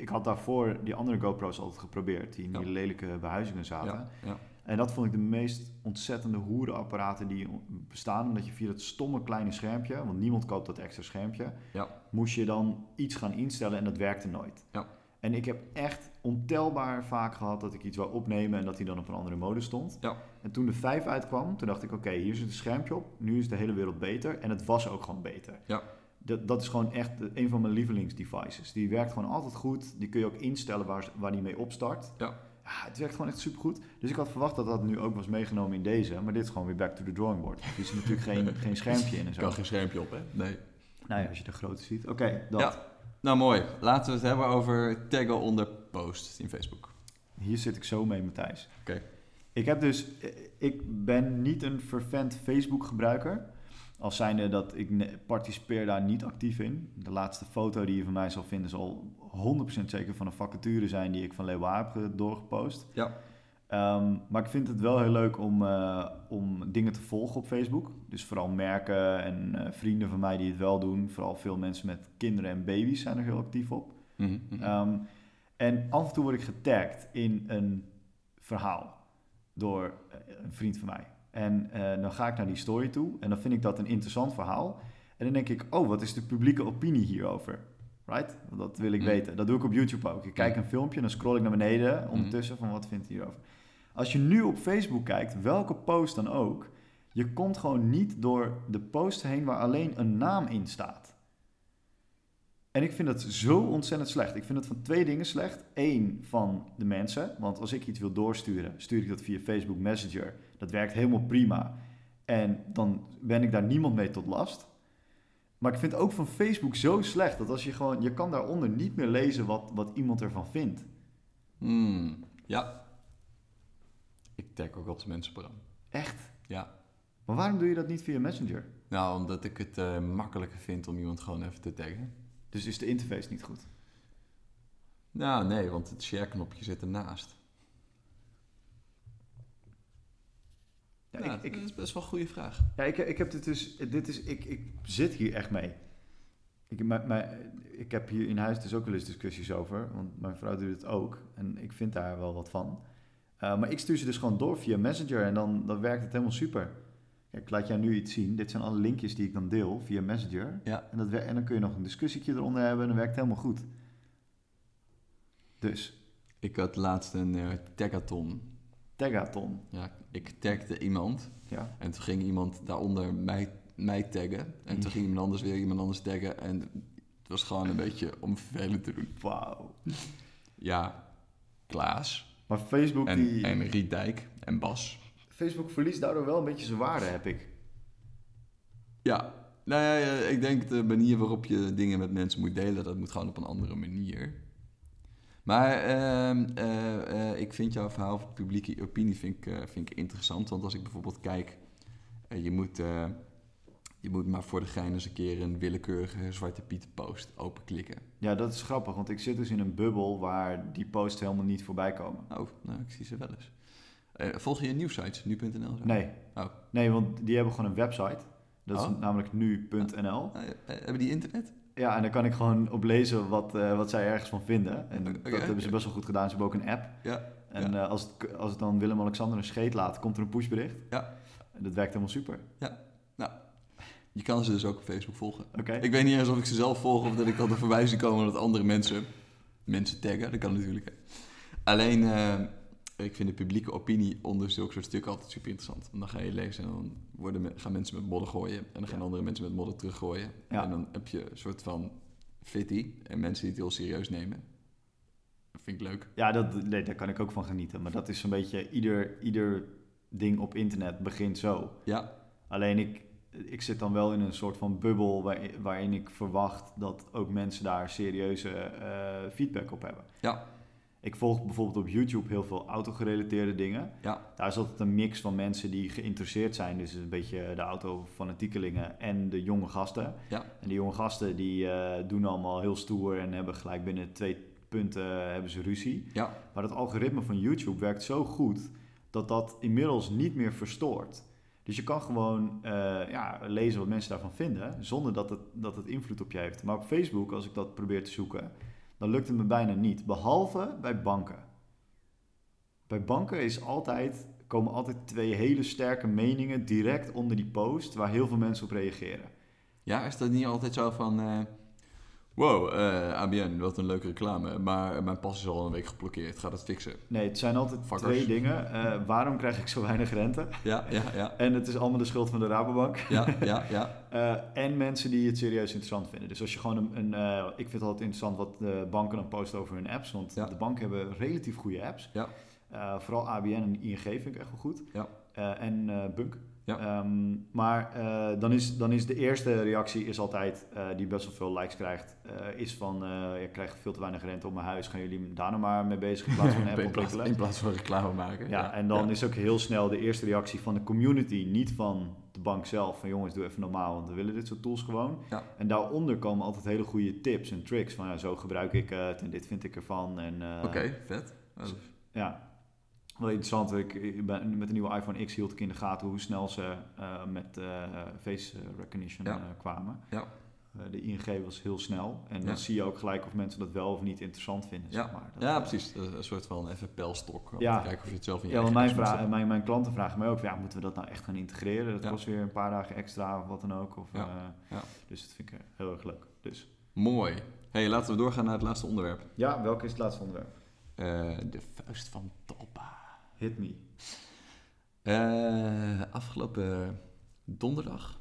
ik had daarvoor die andere GoPro's altijd geprobeerd, die in die Ja. lelijke behuizingen zaten. Ja, ja. En dat vond ik de meest ontzettende hoerenapparaten die bestaan. Omdat je via dat stomme kleine schermpje, want niemand koopt dat extra schermpje, Ja. moest je dan iets gaan instellen en dat werkte nooit. Ja. En ik heb echt ontelbaar vaak gehad dat ik iets wou opnemen en dat die dan op een andere mode stond. Ja. En toen de 5 uitkwam, toen dacht ik, oké, hier zit een schermpje op. Nu is de hele wereld beter. En het was ook gewoon beter. Ja. Dat, dat is gewoon echt een van mijn lievelingsdevices. Die werkt gewoon altijd goed. Die kun je ook instellen waar, waar die mee opstart. Ja. Het werkt gewoon echt supergoed. Dus ik had verwacht dat dat nu ook was meegenomen in deze. Maar dit is gewoon weer back to the drawing board. Er is natuurlijk geen, geen schermpje in en Ik zo. kan geen schermpje op, hè? Nee. Nou ja, als je de grote ziet. Oké, dat. Ja. Nou, mooi. Laten we het hebben over taggen onder post in Facebook. Hier zit ik zo mee, Matthijs. Oké. Ik heb dus, eh, ik ben niet een fervent Facebook-gebruiker. Als zijnde dat ik ne- participeer daar niet actief in. De laatste foto die je van mij zal vinden zal 100% zeker van een vacature zijn die ik van Leeuwen heb eh, doorgepost. Ja. Ehm, maar ik vind het wel heel leuk om, eh, om dingen te volgen op Facebook. Dus vooral merken en eh, vrienden van mij die het wel doen. Vooral veel mensen met kinderen en baby's zijn er heel actief op. Mhm, mhm. Ehm, en af en toe word ik getagd in een verhaal door eh, een vriend van mij. En eh, dan ga ik naar die story toe en dan vind ik dat een interessant verhaal. En dan denk ik, oh, wat is de publieke opinie hierover? Right? Want Dat wil ik Mm. weten. Dat doe ik op YouTube ook. Ik kijk een filmpje en dan scroll ik naar beneden eh, ondertussen van wat vindt hij hierover. Als je nu op Facebook kijkt, welke post dan ook, je komt gewoon niet door de post heen waar alleen een naam in staat. En ik vind dat zo ontzettend slecht. Ik vind het van twee dingen slecht. Eén, van de mensen. Want als ik iets wil doorsturen, stuur ik dat via Facebook Messenger. Dat werkt helemaal prima. En dan ben ik daar niemand mee tot last. Maar ik vind ook van Facebook zo slecht dat als je gewoon, je kan daaronder niet meer lezen wat, wat iemand ervan vindt. Hmm, Ja. Ik tag ook altijd mensen per aan. Echt. Ja. Maar waarom doe je dat niet via Messenger? Nou, omdat ik het eh, makkelijker vind om iemand gewoon even te taggen. Dus is de interface niet goed? Nou, nee, want het share-knopje zit ernaast. Ja, Nou, ik, ik, dat is best wel een goede vraag. Ja, ik, ik heb dit dus. Dit is, ik, ik zit hier echt mee. Ik, mijn, mijn, ik heb hier in huis dus ook wel eens discussies over. Want mijn vrouw doet het ook. En ik vind daar wel wat van. Uh, maar ik stuur ze dus gewoon door via Messenger. En dan, dan werkt het helemaal super. Kijk, ik laat jou nu iets zien. Dit zijn alle linkjes die ik dan deel via Messenger. Ja. En, dat, wer- en dan kun je nog een discussietje eronder hebben. En dan werkt het helemaal goed. Dus, Ik had laatst een eh, tagathon. Tagathon. Ja, ik tagde iemand Ja. en toen ging iemand daaronder mij, mij taggen. En toen ging iemand anders weer iemand anders taggen. En het was gewoon een beetje om vervelend te doen. Wauw. Ja, Klaas Maar Facebook, en, die, en Riet Dijk en Bas. Facebook verliest daardoor wel een beetje zijn waarde, heb ik. Ja, nou ja, ja, ik denk de manier waarop je dingen met mensen moet delen, dat moet gewoon op een andere manier. Maar ehm, eh, eh, ik vind jouw verhaal over publieke opinie vind ik, eh, vind ik interessant. Want als ik bijvoorbeeld kijk, eh, je, moet, eh, je moet maar voor de gein eens een keer een willekeurige Zwarte Piet post openklikken. Ja, dat is grappig, want ik zit dus in een bubbel waar die posts helemaal niet voorbij komen. Oh, nou, ik zie ze wel eens. Eh, volg je nieuwsites, nu.nl? zo? Nee. Oh. Nee, want die hebben gewoon een website. Dat is Oh. namelijk nu.nl. Ah, ja, eh, hebben die internet? Ja, en daar kan ik gewoon op lezen wat, eh, wat zij ergens van vinden. En Oké, dat hebben ze oké. best wel goed gedaan. Ze hebben ook een app. Ja. En eh, als, het, als het dan Willem-Alexander een scheet laat, komt er een pushbericht. Ja. En dat werkt helemaal super. Je kan ze dus ook op Facebook volgen. Oké. Ik weet niet eens of ik ze zelf volg of dat ik dat er voorbij zie komen dat andere mensen mensen taggen. Dat kan natuurlijk. hè. Alleen, eh, ik vind de publieke opinie onder zulke soort stukken altijd super interessant. Want dan ga je lezen en dan worden, me- gaan mensen met modder gooien. En dan gaan Ja. andere mensen met modder teruggooien. Ja. En dan heb je een soort van fitty en mensen die het heel serieus nemen. Dat vind ik leuk. Ja, dat, nee, daar kan ik ook van genieten. Maar dat is een beetje ieder, ieder ding op internet begint zo. Ja. Alleen ik, ik zit dan wel in een soort van bubbel waar- waarin ik verwacht dat ook mensen daar serieuze eh, feedback op hebben. Ja. Ik volg bijvoorbeeld op YouTube heel veel autogerelateerde dingen. Ja. Daar is altijd een mix van mensen die geïnteresseerd zijn. Dus een beetje de autofanatiekelingen en de jonge gasten. Ja. En die jonge gasten die eh, doen allemaal heel stoer en hebben gelijk binnen twee punten eh, hebben ze ruzie. Ja. Maar dat algoritme van YouTube werkt zo goed dat dat inmiddels niet meer verstoort. Dus je kan gewoon eh, ja, lezen wat mensen daarvan vinden, zonder dat het, dat het invloed op je heeft. Maar op Facebook, als ik dat probeer te zoeken, dan lukt het me bijna niet. Behalve bij banken. Bij banken is altijd, komen altijd twee hele sterke meningen direct onder die post, waar heel veel mensen op reageren. Ja, is dat niet altijd zo van... eh, wow, eh, ABN, wat een leuke reclame. Maar mijn pas is al een week geblokkeerd. Ga dat fixen. Nee, het zijn altijd Fuckers. twee dingen. Eh, waarom krijg ik zo weinig rente? Ja, ja, ja. En het is allemaal de schuld van de Rabobank. Ja, ja, ja. Eh, en mensen die het serieus interessant vinden. Dus als je gewoon een. een eh, ik vind het altijd interessant wat de banken dan posten over hun apps. Want Ja. de banken hebben relatief goede apps. Ja. Eh, vooral ABN en ING vind ik echt wel goed. Ja. Eh, en eh, Bunk. Ja. Ehm, maar eh, dan, is, dan is de eerste reactie is altijd, eh, die best wel veel likes krijgt, eh, is van eh, je krijgt veel te weinig rente op mijn huis. Gaan jullie daar nou maar mee bezig in plaats van een app In plaats, ontwikkelen? in plaats van reclame maken. Ja, en dan is ook heel snel de eerste reactie van de community, niet van de bank zelf. Van jongens, doe even normaal, want we willen dit soort tools gewoon. Ja. En daaronder komen altijd hele goede tips en tricks. Van ja, zo gebruik ik het en dit vind ik ervan. En, eh, Oké, vet. Dat is- Ja, wel interessant. Ik, ik ben, met de nieuwe iPhone X hield ik in de gaten hoe snel ze eh, met eh, face recognition Ja. eh, kwamen. Ja. Eh, de ING was heel snel. En Ja. dan zie je ook gelijk of mensen dat wel of niet interessant vinden. Ja. Zeg maar. Dat, Ja, eh, precies. Dat is Een soort van even pijlstok. Om Ja. te kijken of je het zelf in je Ja, want eigen mijn, apps moet vra- mijn, mijn klanten vragen mij ook, ja, moeten we dat nou echt gaan integreren? Dat Ja. kost weer een paar dagen extra of wat dan ook. Of, Ja. eh, Ja. Dus dat vind ik eh, heel erg leuk. Dus. zetten. Mooi. hey, laten we doorgaan naar het laatste onderwerp. Ja, welke is het laatste onderwerp? Eh, de vuist van Talpa. Hit me. Eh, afgelopen donderdag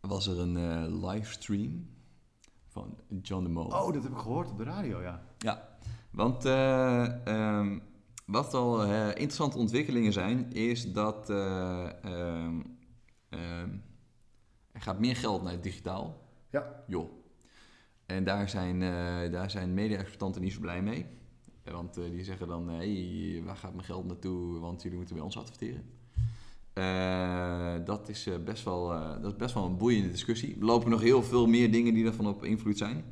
was er een eh, livestream van John de Mol. Oh, dat heb ik gehoord op de radio, ja. Want eh, ehm, wat al eh, interessante ontwikkelingen zijn, is dat eh, ehm, ehm, er gaat meer geld naar het digitaal. Ja. Joh. En daar zijn, eh, daar zijn media-exploitanten niet zo blij mee. Eh, Want eh, die zeggen dan, hey, waar gaat mijn geld naartoe? Want jullie moeten bij ons adverteren. Eh, dat, is, eh, best wel, eh, dat is best wel een boeiende discussie. Er lopen nog heel veel meer dingen die daarvan op invloed zijn.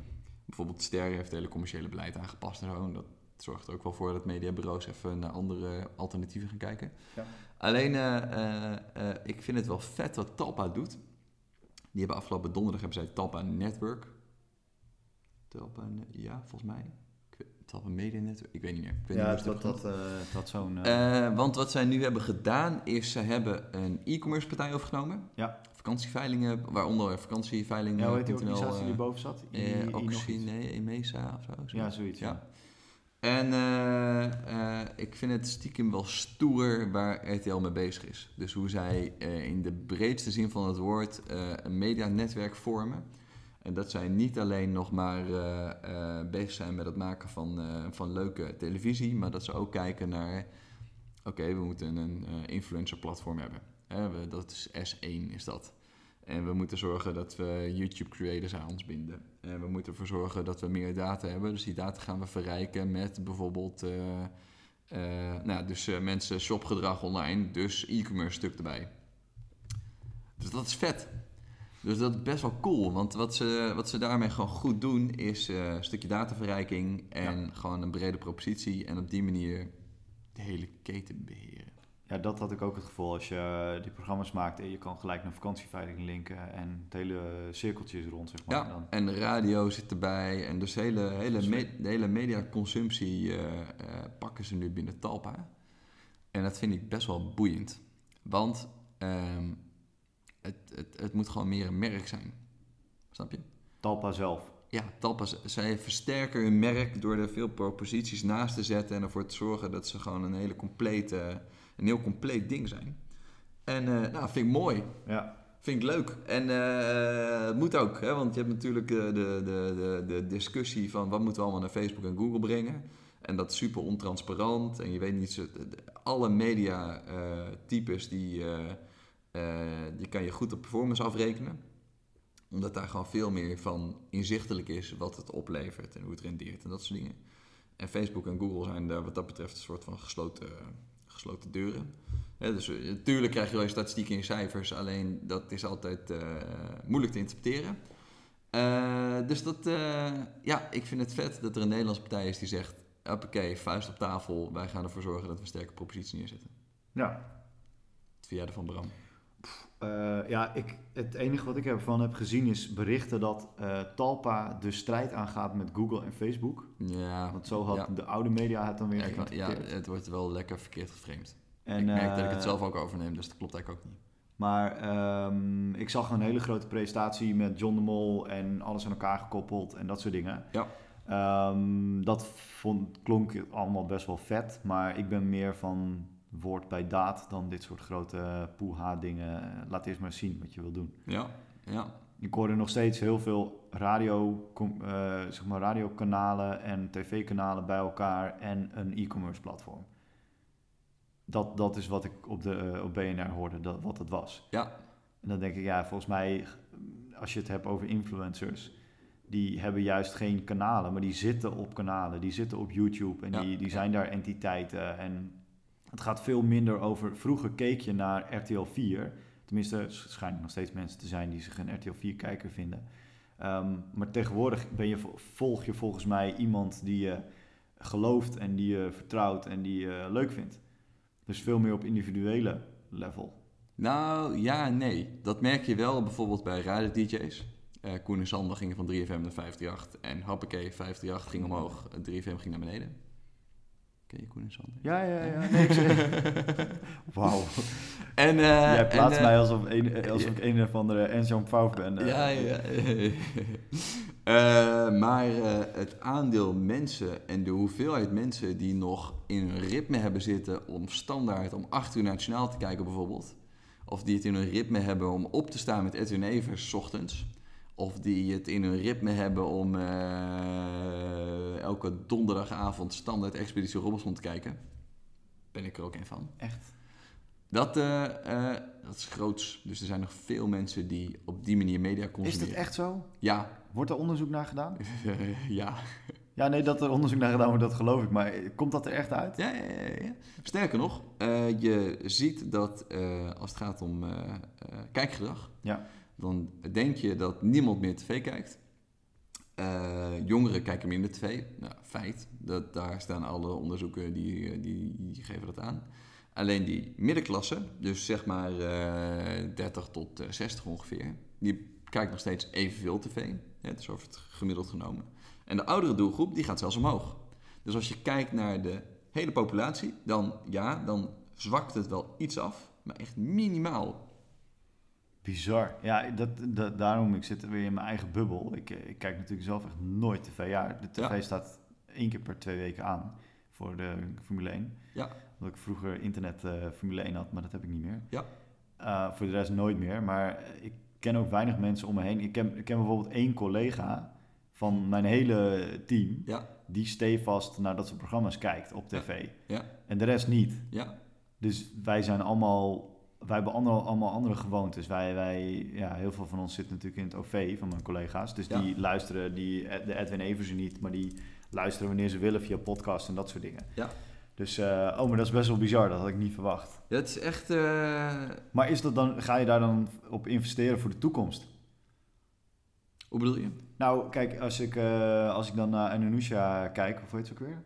Bijvoorbeeld Ster heeft het hele commerciële beleid aangepast en zo. En dat zorgt er ook wel voor dat mediabureaus even naar andere alternatieven gaan kijken. Ja. Alleen, eh, eh, eh, ik vind het wel vet wat Talpa doet. Die hebben afgelopen donderdag hebben zij Talpa Network. Talpa, Ne- ja, volgens mij. Ik weet- Talpa Media Network, ik weet niet meer. Ik weet niet ja, hoe ze het dat, hebben dat, eh, dat zo'n... eh, eh, want wat zij nu hebben gedaan is, ze hebben een e-commerce partij overgenomen. Ja. Vakantieveilingen, waaronder vakantieveilingen. ja, weet je die .nl, organisatie die eh, boven zat? I- I- eh, nog Oxine, iets. nee, Mesa of zo. zoiets. Ja, zoiets. Ja. Ja. En eh, eh, ik vind het stiekem wel stoer waar RTL mee bezig is. Dus hoe zij eh, in de breedste zin van het woord eh, een medianetwerk vormen. En dat zij niet alleen nog maar eh, eh, bezig zijn met het maken van, eh, van leuke televisie, maar dat ze ook kijken naar, oké, we moeten een eh, influencer-platform hebben. Hè, we, dat is S1 is dat. En we moeten zorgen dat we YouTube-creators aan ons binden. En Eh, we moeten ervoor zorgen dat we meer data hebben. Dus die data gaan we verrijken met bijvoorbeeld, eh, eh, nou, dus eh, mensen shopgedrag online, dus e-commerce stuk erbij. Dus dat is vet. Dus dat is best wel cool, want wat ze, wat ze daarmee gewoon goed doen is eh, een stukje dataverrijking en gewoon een brede propositie en op die manier de hele keten beheren. Ja, dat had ik ook het gevoel. Als je eh, die programma's maakt en je kan gelijk naar vakantieveiling linken en het hele cirkeltje is rond, zeg maar. Ja, Dan, en de radio zit erbij. En dus de hele, hele, me- de hele mediaconsumptie eh, eh, pakken ze nu binnen Talpa. En dat vind ik best wel boeiend. Want ehm, het, het, het moet gewoon meer een merk zijn. Snap je? Talpa zelf. Ja, Talpa, z- zij versterken hun merk door er veel proposities naast te zetten en ervoor te zorgen dat ze gewoon een, hele complete, een heel compleet ding zijn. En eh, nou, vind ik mooi. Ja. Vind ik leuk. En eh, het moet ook, hè? want je hebt natuurlijk eh, de, de, de, de discussie van wat moeten we allemaal naar Facebook en Google brengen. En dat is super ontransparant. En je weet niet, zo- de- de- alle media-types die, eh, eh, die kan je goed op performance afrekenen. Omdat daar gewoon veel meer van inzichtelijk is wat het oplevert en hoe het rendeert en dat soort dingen. En Facebook en Google zijn daar wat dat betreft een soort van gesloten, gesloten deuren. Hè, dus natuurlijk krijg je wel eens statistieken in cijfers, alleen dat is altijd eh, moeilijk te interpreteren. Eh, dus dat, eh, ja, ik vind het vet dat er een Nederlandse partij is die zegt: hoppakee, vuist op tafel, wij gaan ervoor zorgen dat we een sterke propositie neerzetten. Ja, Via de van Bram. Eh, ja, ik, het enige wat ik ervan heb gezien is berichten dat eh, Talpa de strijd aangaat met Google en Facebook. Ja, Want zo had Ja. de oude media het dan weer ja, ik- ja, geïnterpreteerd. het wordt wel lekker verkeerd geframed. En, ik merk dat ik eh, het zelf ook overneem, dus dat klopt eigenlijk ook niet. Maar ehm, ik zag een hele grote presentatie met John de Mol en alles aan elkaar gekoppeld en dat soort dingen. Ja. Ehm, dat vond, klonk allemaal best wel vet, maar ik ben meer van woord bij daad dan dit soort grote poeha dingen. Laat eerst maar zien wat je wil doen. Ja, ja. Ik hoorde nog steeds heel veel radio, com- eh, zeg maar radiokanalen en tv-kanalen bij elkaar en een e-commerce platform. Dat, dat is wat ik op, de, eh, op BNR hoorde, dat, wat het was. Ja. En dan denk ik, ja, volgens mij, als je het hebt over influencers, die hebben juist geen kanalen, maar die zitten op kanalen, die zitten op YouTube en Ja, die, die ja. zijn daar entiteiten. En het gaat veel minder over, vroeger keek je naar RTL 4, Tenminste, er schijnen nog steeds mensen te zijn die zich een RTL 4-kijker vinden. Ehm, maar tegenwoordig ben je, volg je volgens mij iemand die je gelooft en die je vertrouwt en die je leuk vindt. Dus veel meer op individuele level. Nou, ja en nee. Dat merk je wel bijvoorbeeld bij radio-dj's. Eh, Koen en Sander gingen van 3FM naar 538. En hoppakee, 538 ging omhoog. en 3FM ging naar beneden. Ken je Koen en Sander? Ja, ja, ja. Nee, ik zeg- Wauw. En, eh, Jij en, plaatst eh, mij alsof, een, alsof ik een of andere Enzo Pauw ben. eh. Ja, ja. Nou, Eh, maar eh, het aandeel mensen en de hoeveelheid mensen die nog in een ritme hebben zitten om standaard om 8 uur nationaal te kijken bijvoorbeeld. Of die het in hun ritme hebben om op te staan met Edwin Evers 's ochtends. Of die het in hun ritme hebben om eh, elke donderdagavond standaard Expeditie Robinson te kijken. Ben ik er ook een van. Echt. Dat, eh, eh, dat is groots. Dus er zijn nog veel mensen die op die manier media Is consumeren. dat echt zo? Ja. Wordt er onderzoek naar gedaan? ja. Ja, nee, dat er onderzoek naar gedaan wordt, dat geloof ik. Maar eh, komt dat er echt uit? Ja, ja, ja, ja. Sterker nog, eh, je ziet dat eh, als het gaat om eh, eh, kijkgedrag, Ja. dan denk je dat niemand meer tv kijkt. Eh, jongeren kijken minder tv. Nou, feit. Dat, daar staan alle onderzoeken die, eh, die, die geven dat aan. Alleen die middenklasse, dus zeg maar eh, 30 tot eh, 60 ongeveer, die kijkt nog steeds evenveel tv. Hè, dus over het gemiddeld genomen. En de oudere doelgroep, die gaat zelfs omhoog. Dus als je kijkt naar de hele populatie, dan ja, dan zwakt het wel iets af. Maar echt minimaal. Bizar. Ja, dat, dat, daarom, ik zit weer in mijn eigen bubbel. Ik, eh, ik kijk natuurlijk zelf echt nooit tv. Ja, de tv Ja. staat één keer per twee weken aan voor de Formule 1. Ja. Omdat ik vroeger internet eh, Formule 1 had, maar dat heb ik niet meer. Ja. Eh, voor de rest nooit meer. Maar ik ken ook weinig mensen om me heen. Ik ken, ik ken bijvoorbeeld één collega van mijn hele team. Ja. Die stevast naar dat soort programma's kijkt op Ja. tv. Ja. En de rest niet. Ja, Dus wij zijn allemaal, wij hebben andere, allemaal andere gewoontes. Wij, wij, ja, heel veel van ons zit natuurlijk in het OV van mijn collega's. Dus Ja. die luisteren die, de Edwin Eversen niet, maar die luisteren wanneer ze willen via podcast en dat soort dingen. Ja. Dus, eh, oh, maar dat is best wel bizar, dat had ik niet verwacht. dat is echt... eh, Maar is dat dan, ga je daar dan op investeren voor de toekomst? Hoe bedoel je? Nou, kijk, als ik, eh, als ik dan naar Anonusha kijk, of hoe heet ze ook weer?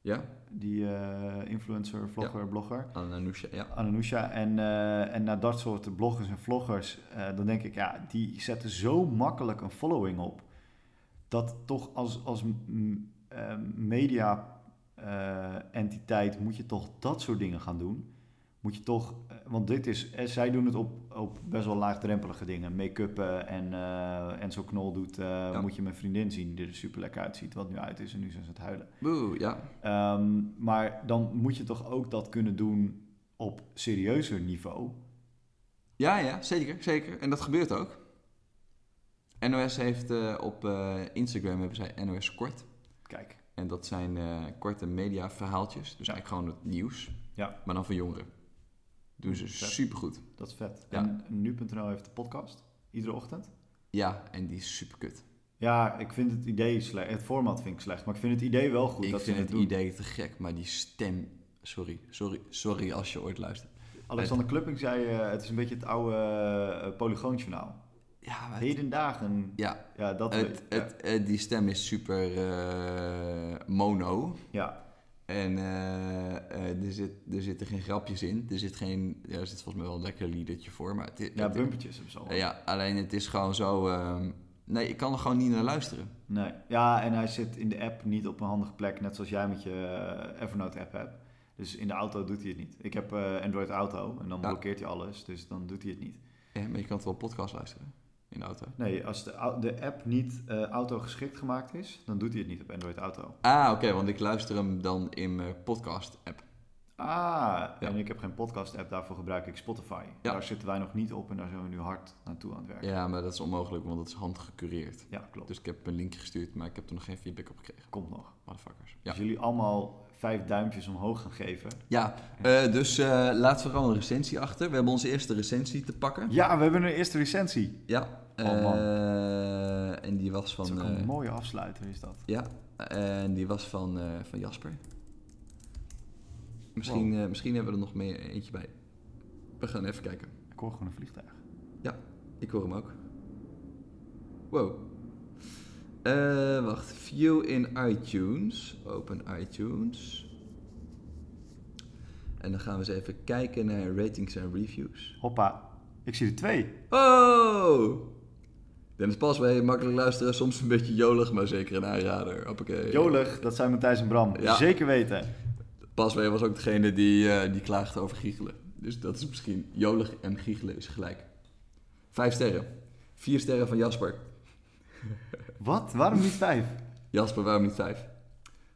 Ja, Die eh, influencer, vlogger, blogger. Ananusha, Ah, ja. Ananusha en, eh, en naar dat soort bloggers en vloggers, eh, dan denk ik, ja, die zetten zo makkelijk een following op. Dat toch als, als mm, eh, media eh, entiteit moet je toch dat soort dingen gaan doen. Moet je toch, eh, want dit is, eh, zij doen het op, op best wel laagdrempelige dingen. Make-up eh, en eh Enzo Knol doet, eh, moet je mijn vriendin zien, die er super lekker uitziet, wat nu uit is en nu zijn ze aan het huilen. Boe, ja. Ehm, maar dan moet je toch ook dat kunnen doen op serieuzer niveau. Ja, ja, zeker, zeker. En dat gebeurt ook. NOS heeft eh, op eh, Instagram hebben zij NOS Kort. Kijk, En dat zijn eh, korte mediaverhaaltjes. Dus Ja. eigenlijk gewoon het nieuws. Ja. Maar dan voor jongeren. Doen ze Vet. supergoed. dat is vet. Ja. En nu.nl heeft de podcast, iedere ochtend. Ja, en die is superkut. Ja, ik vind het idee slecht. Het format vind ik slecht, maar ik vind het idee wel goed. Ik dat vind ze het het doen. idee te gek, maar die stem... Sorry, sorry, sorry als je ooit luistert. Alexander Klupping zei, eh, het is een beetje het oude eh, polygoonjournaal. Ja, maar het- Hedendagen. ja, Ja, dat het, het, eh, die stem is super eh, mono. ja. En eh, eh, er, zit, er zitten geen grapjes in. Er zit geen. Ja, er zit volgens mij wel een lekker liedertje voor. Maar het, Ja, het- eh, bumpertjes of zo. ja, alleen het is gewoon zo. ehm, nee, ik kan er gewoon niet naar luisteren. Nee. Ja, en hij zit in de app niet op een handige plek, net zoals jij met je eh, Evernote-app hebt. Dus in de auto doet hij het niet. Ik heb eh, Android Auto en dan Ja. blokkeert hij alles, dus dan doet hij het niet. Ja, Eh, maar je kan het wel podcast luisteren in de auto. Nee, als de, au- de app niet eh, auto geschikt gemaakt is, dan doet hij het niet op Android Auto. Ah, oké, want ik luister hem dan in mijn podcast-app. Ah, en ik heb geen podcast-app, daarvoor gebruik ik Spotify. Ja. Daar zitten wij nog niet op en daar zijn we nu hard naartoe aan het werken. Ja, Ja, maar dat is onmogelijk, want dat is handgecureerd. klopt. Dus ik heb een linkje gestuurd, maar ik heb er nog geen feedback op gekregen. Komt nog. Motherfuckers. Dus- Ja, Als jullie allemaal vijf duimpjes omhoog gaan geven. ja eh, dus eh laat vooral een recensie achter. We hebben onze eerste recensie te pakken. Ja, we hebben een eerste recensie. Ja. Oh, man. eh, en die was Dat is van... ook een eh, mooie afsluiter is dat. ja, en die was van, eh, van Jasper. Misschien, eh, misschien hebben we er nog meer eentje bij. We gaan even kijken. Ik hoor gewoon een vliegtuig. Ja, ik hoor hem ook. Wow. Eh, wacht, view in iTunes. Open iTunes. En dan gaan we eens even kijken naar ratings en reviews. Hoppa, ik zie er twee. Oh! Dennis Pas, wij makkelijk luisteren, soms een beetje jolig, maar zeker een aanrader. Hoppakee. Jolig, dat zijn Matthijs en Bram. Eh. Ja. Zeker weten. Paswee was ook degene die, eh, die klaagde over giechelen. Dus dat is misschien jolig en giechelen is gelijk. Vijf sterren. Vier sterren van Jasper. Wat? Waarom niet vijf? Jasper, waarom niet vijf?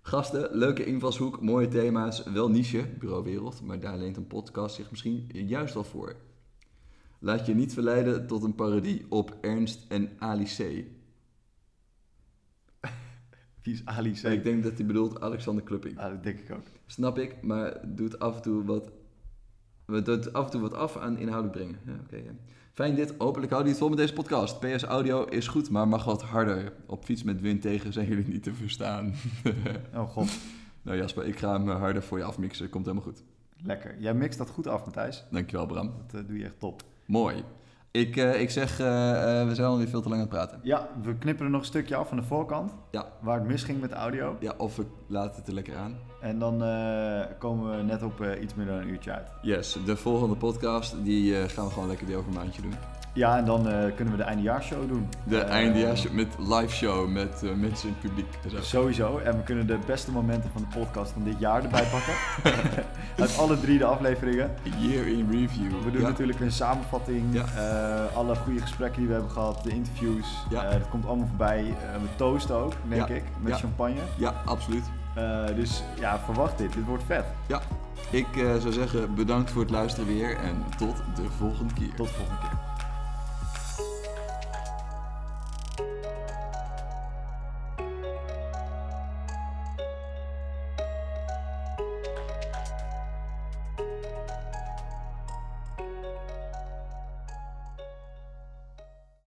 Gasten, leuke invalshoek, mooie thema's, wel niche, Bureau Wereld, maar daar leent een podcast zich misschien juist al voor. Laat je niet verleiden tot een parodie op Ernst en Ali C. Wie is Ali C? Ik denk dat hij bedoelt Alexander Klupping. Ah, dat denk ik ook. Snap ik, maar doet af en toe wat, we doet af, en toe wat af aan inhoudelijk brengen. Ja, oké, ja. Fijn dit, hopelijk houden jullie het vol met deze podcast. PS Audio is goed, maar mag wat harder. Op fiets met wind tegen zijn jullie niet te verstaan. Oh god, nou Jasper, ik ga hem harder voor je afmixen, komt helemaal goed. lekker. Jij mixt dat goed af, Matthijs. Dankjewel Bram. Dat eh, doe je echt top. Mooi. Ik, eh, ik zeg, eh, eh, we zijn alweer veel te lang aan het praten. Ja, we knipperen nog een stukje af van de voorkant. Ja. Waar het misging met de audio. Ja, of we laten het er lekker aan. En dan eh, komen we net op eh, iets meer dan een uurtje uit. Yes, de volgende podcast, die eh, gaan we gewoon lekker die over een maandje doen. Ja, en dan eh, kunnen we de eindejaarsshow doen. De Eh, eindejaars met live show met eh, mensen in het publiek. en zo. Sowieso. En we kunnen de beste momenten van de podcast van dit jaar erbij pakken. Uit alle drie de afleveringen. Year in review. We doen Ja. natuurlijk een samenvatting. Ja. eh, alle goede gesprekken die we hebben gehad, de interviews. Ja. eh, dat komt allemaal voorbij. Eh, we toasten ook, denk Ja. ik, met Ja. champagne. Ja, absoluut. Eh, dus ja, verwacht dit. Dit wordt vet. Ja. Ik eh, zou zeggen, bedankt voor het luisteren weer en tot de volgende keer. Tot de volgende keer.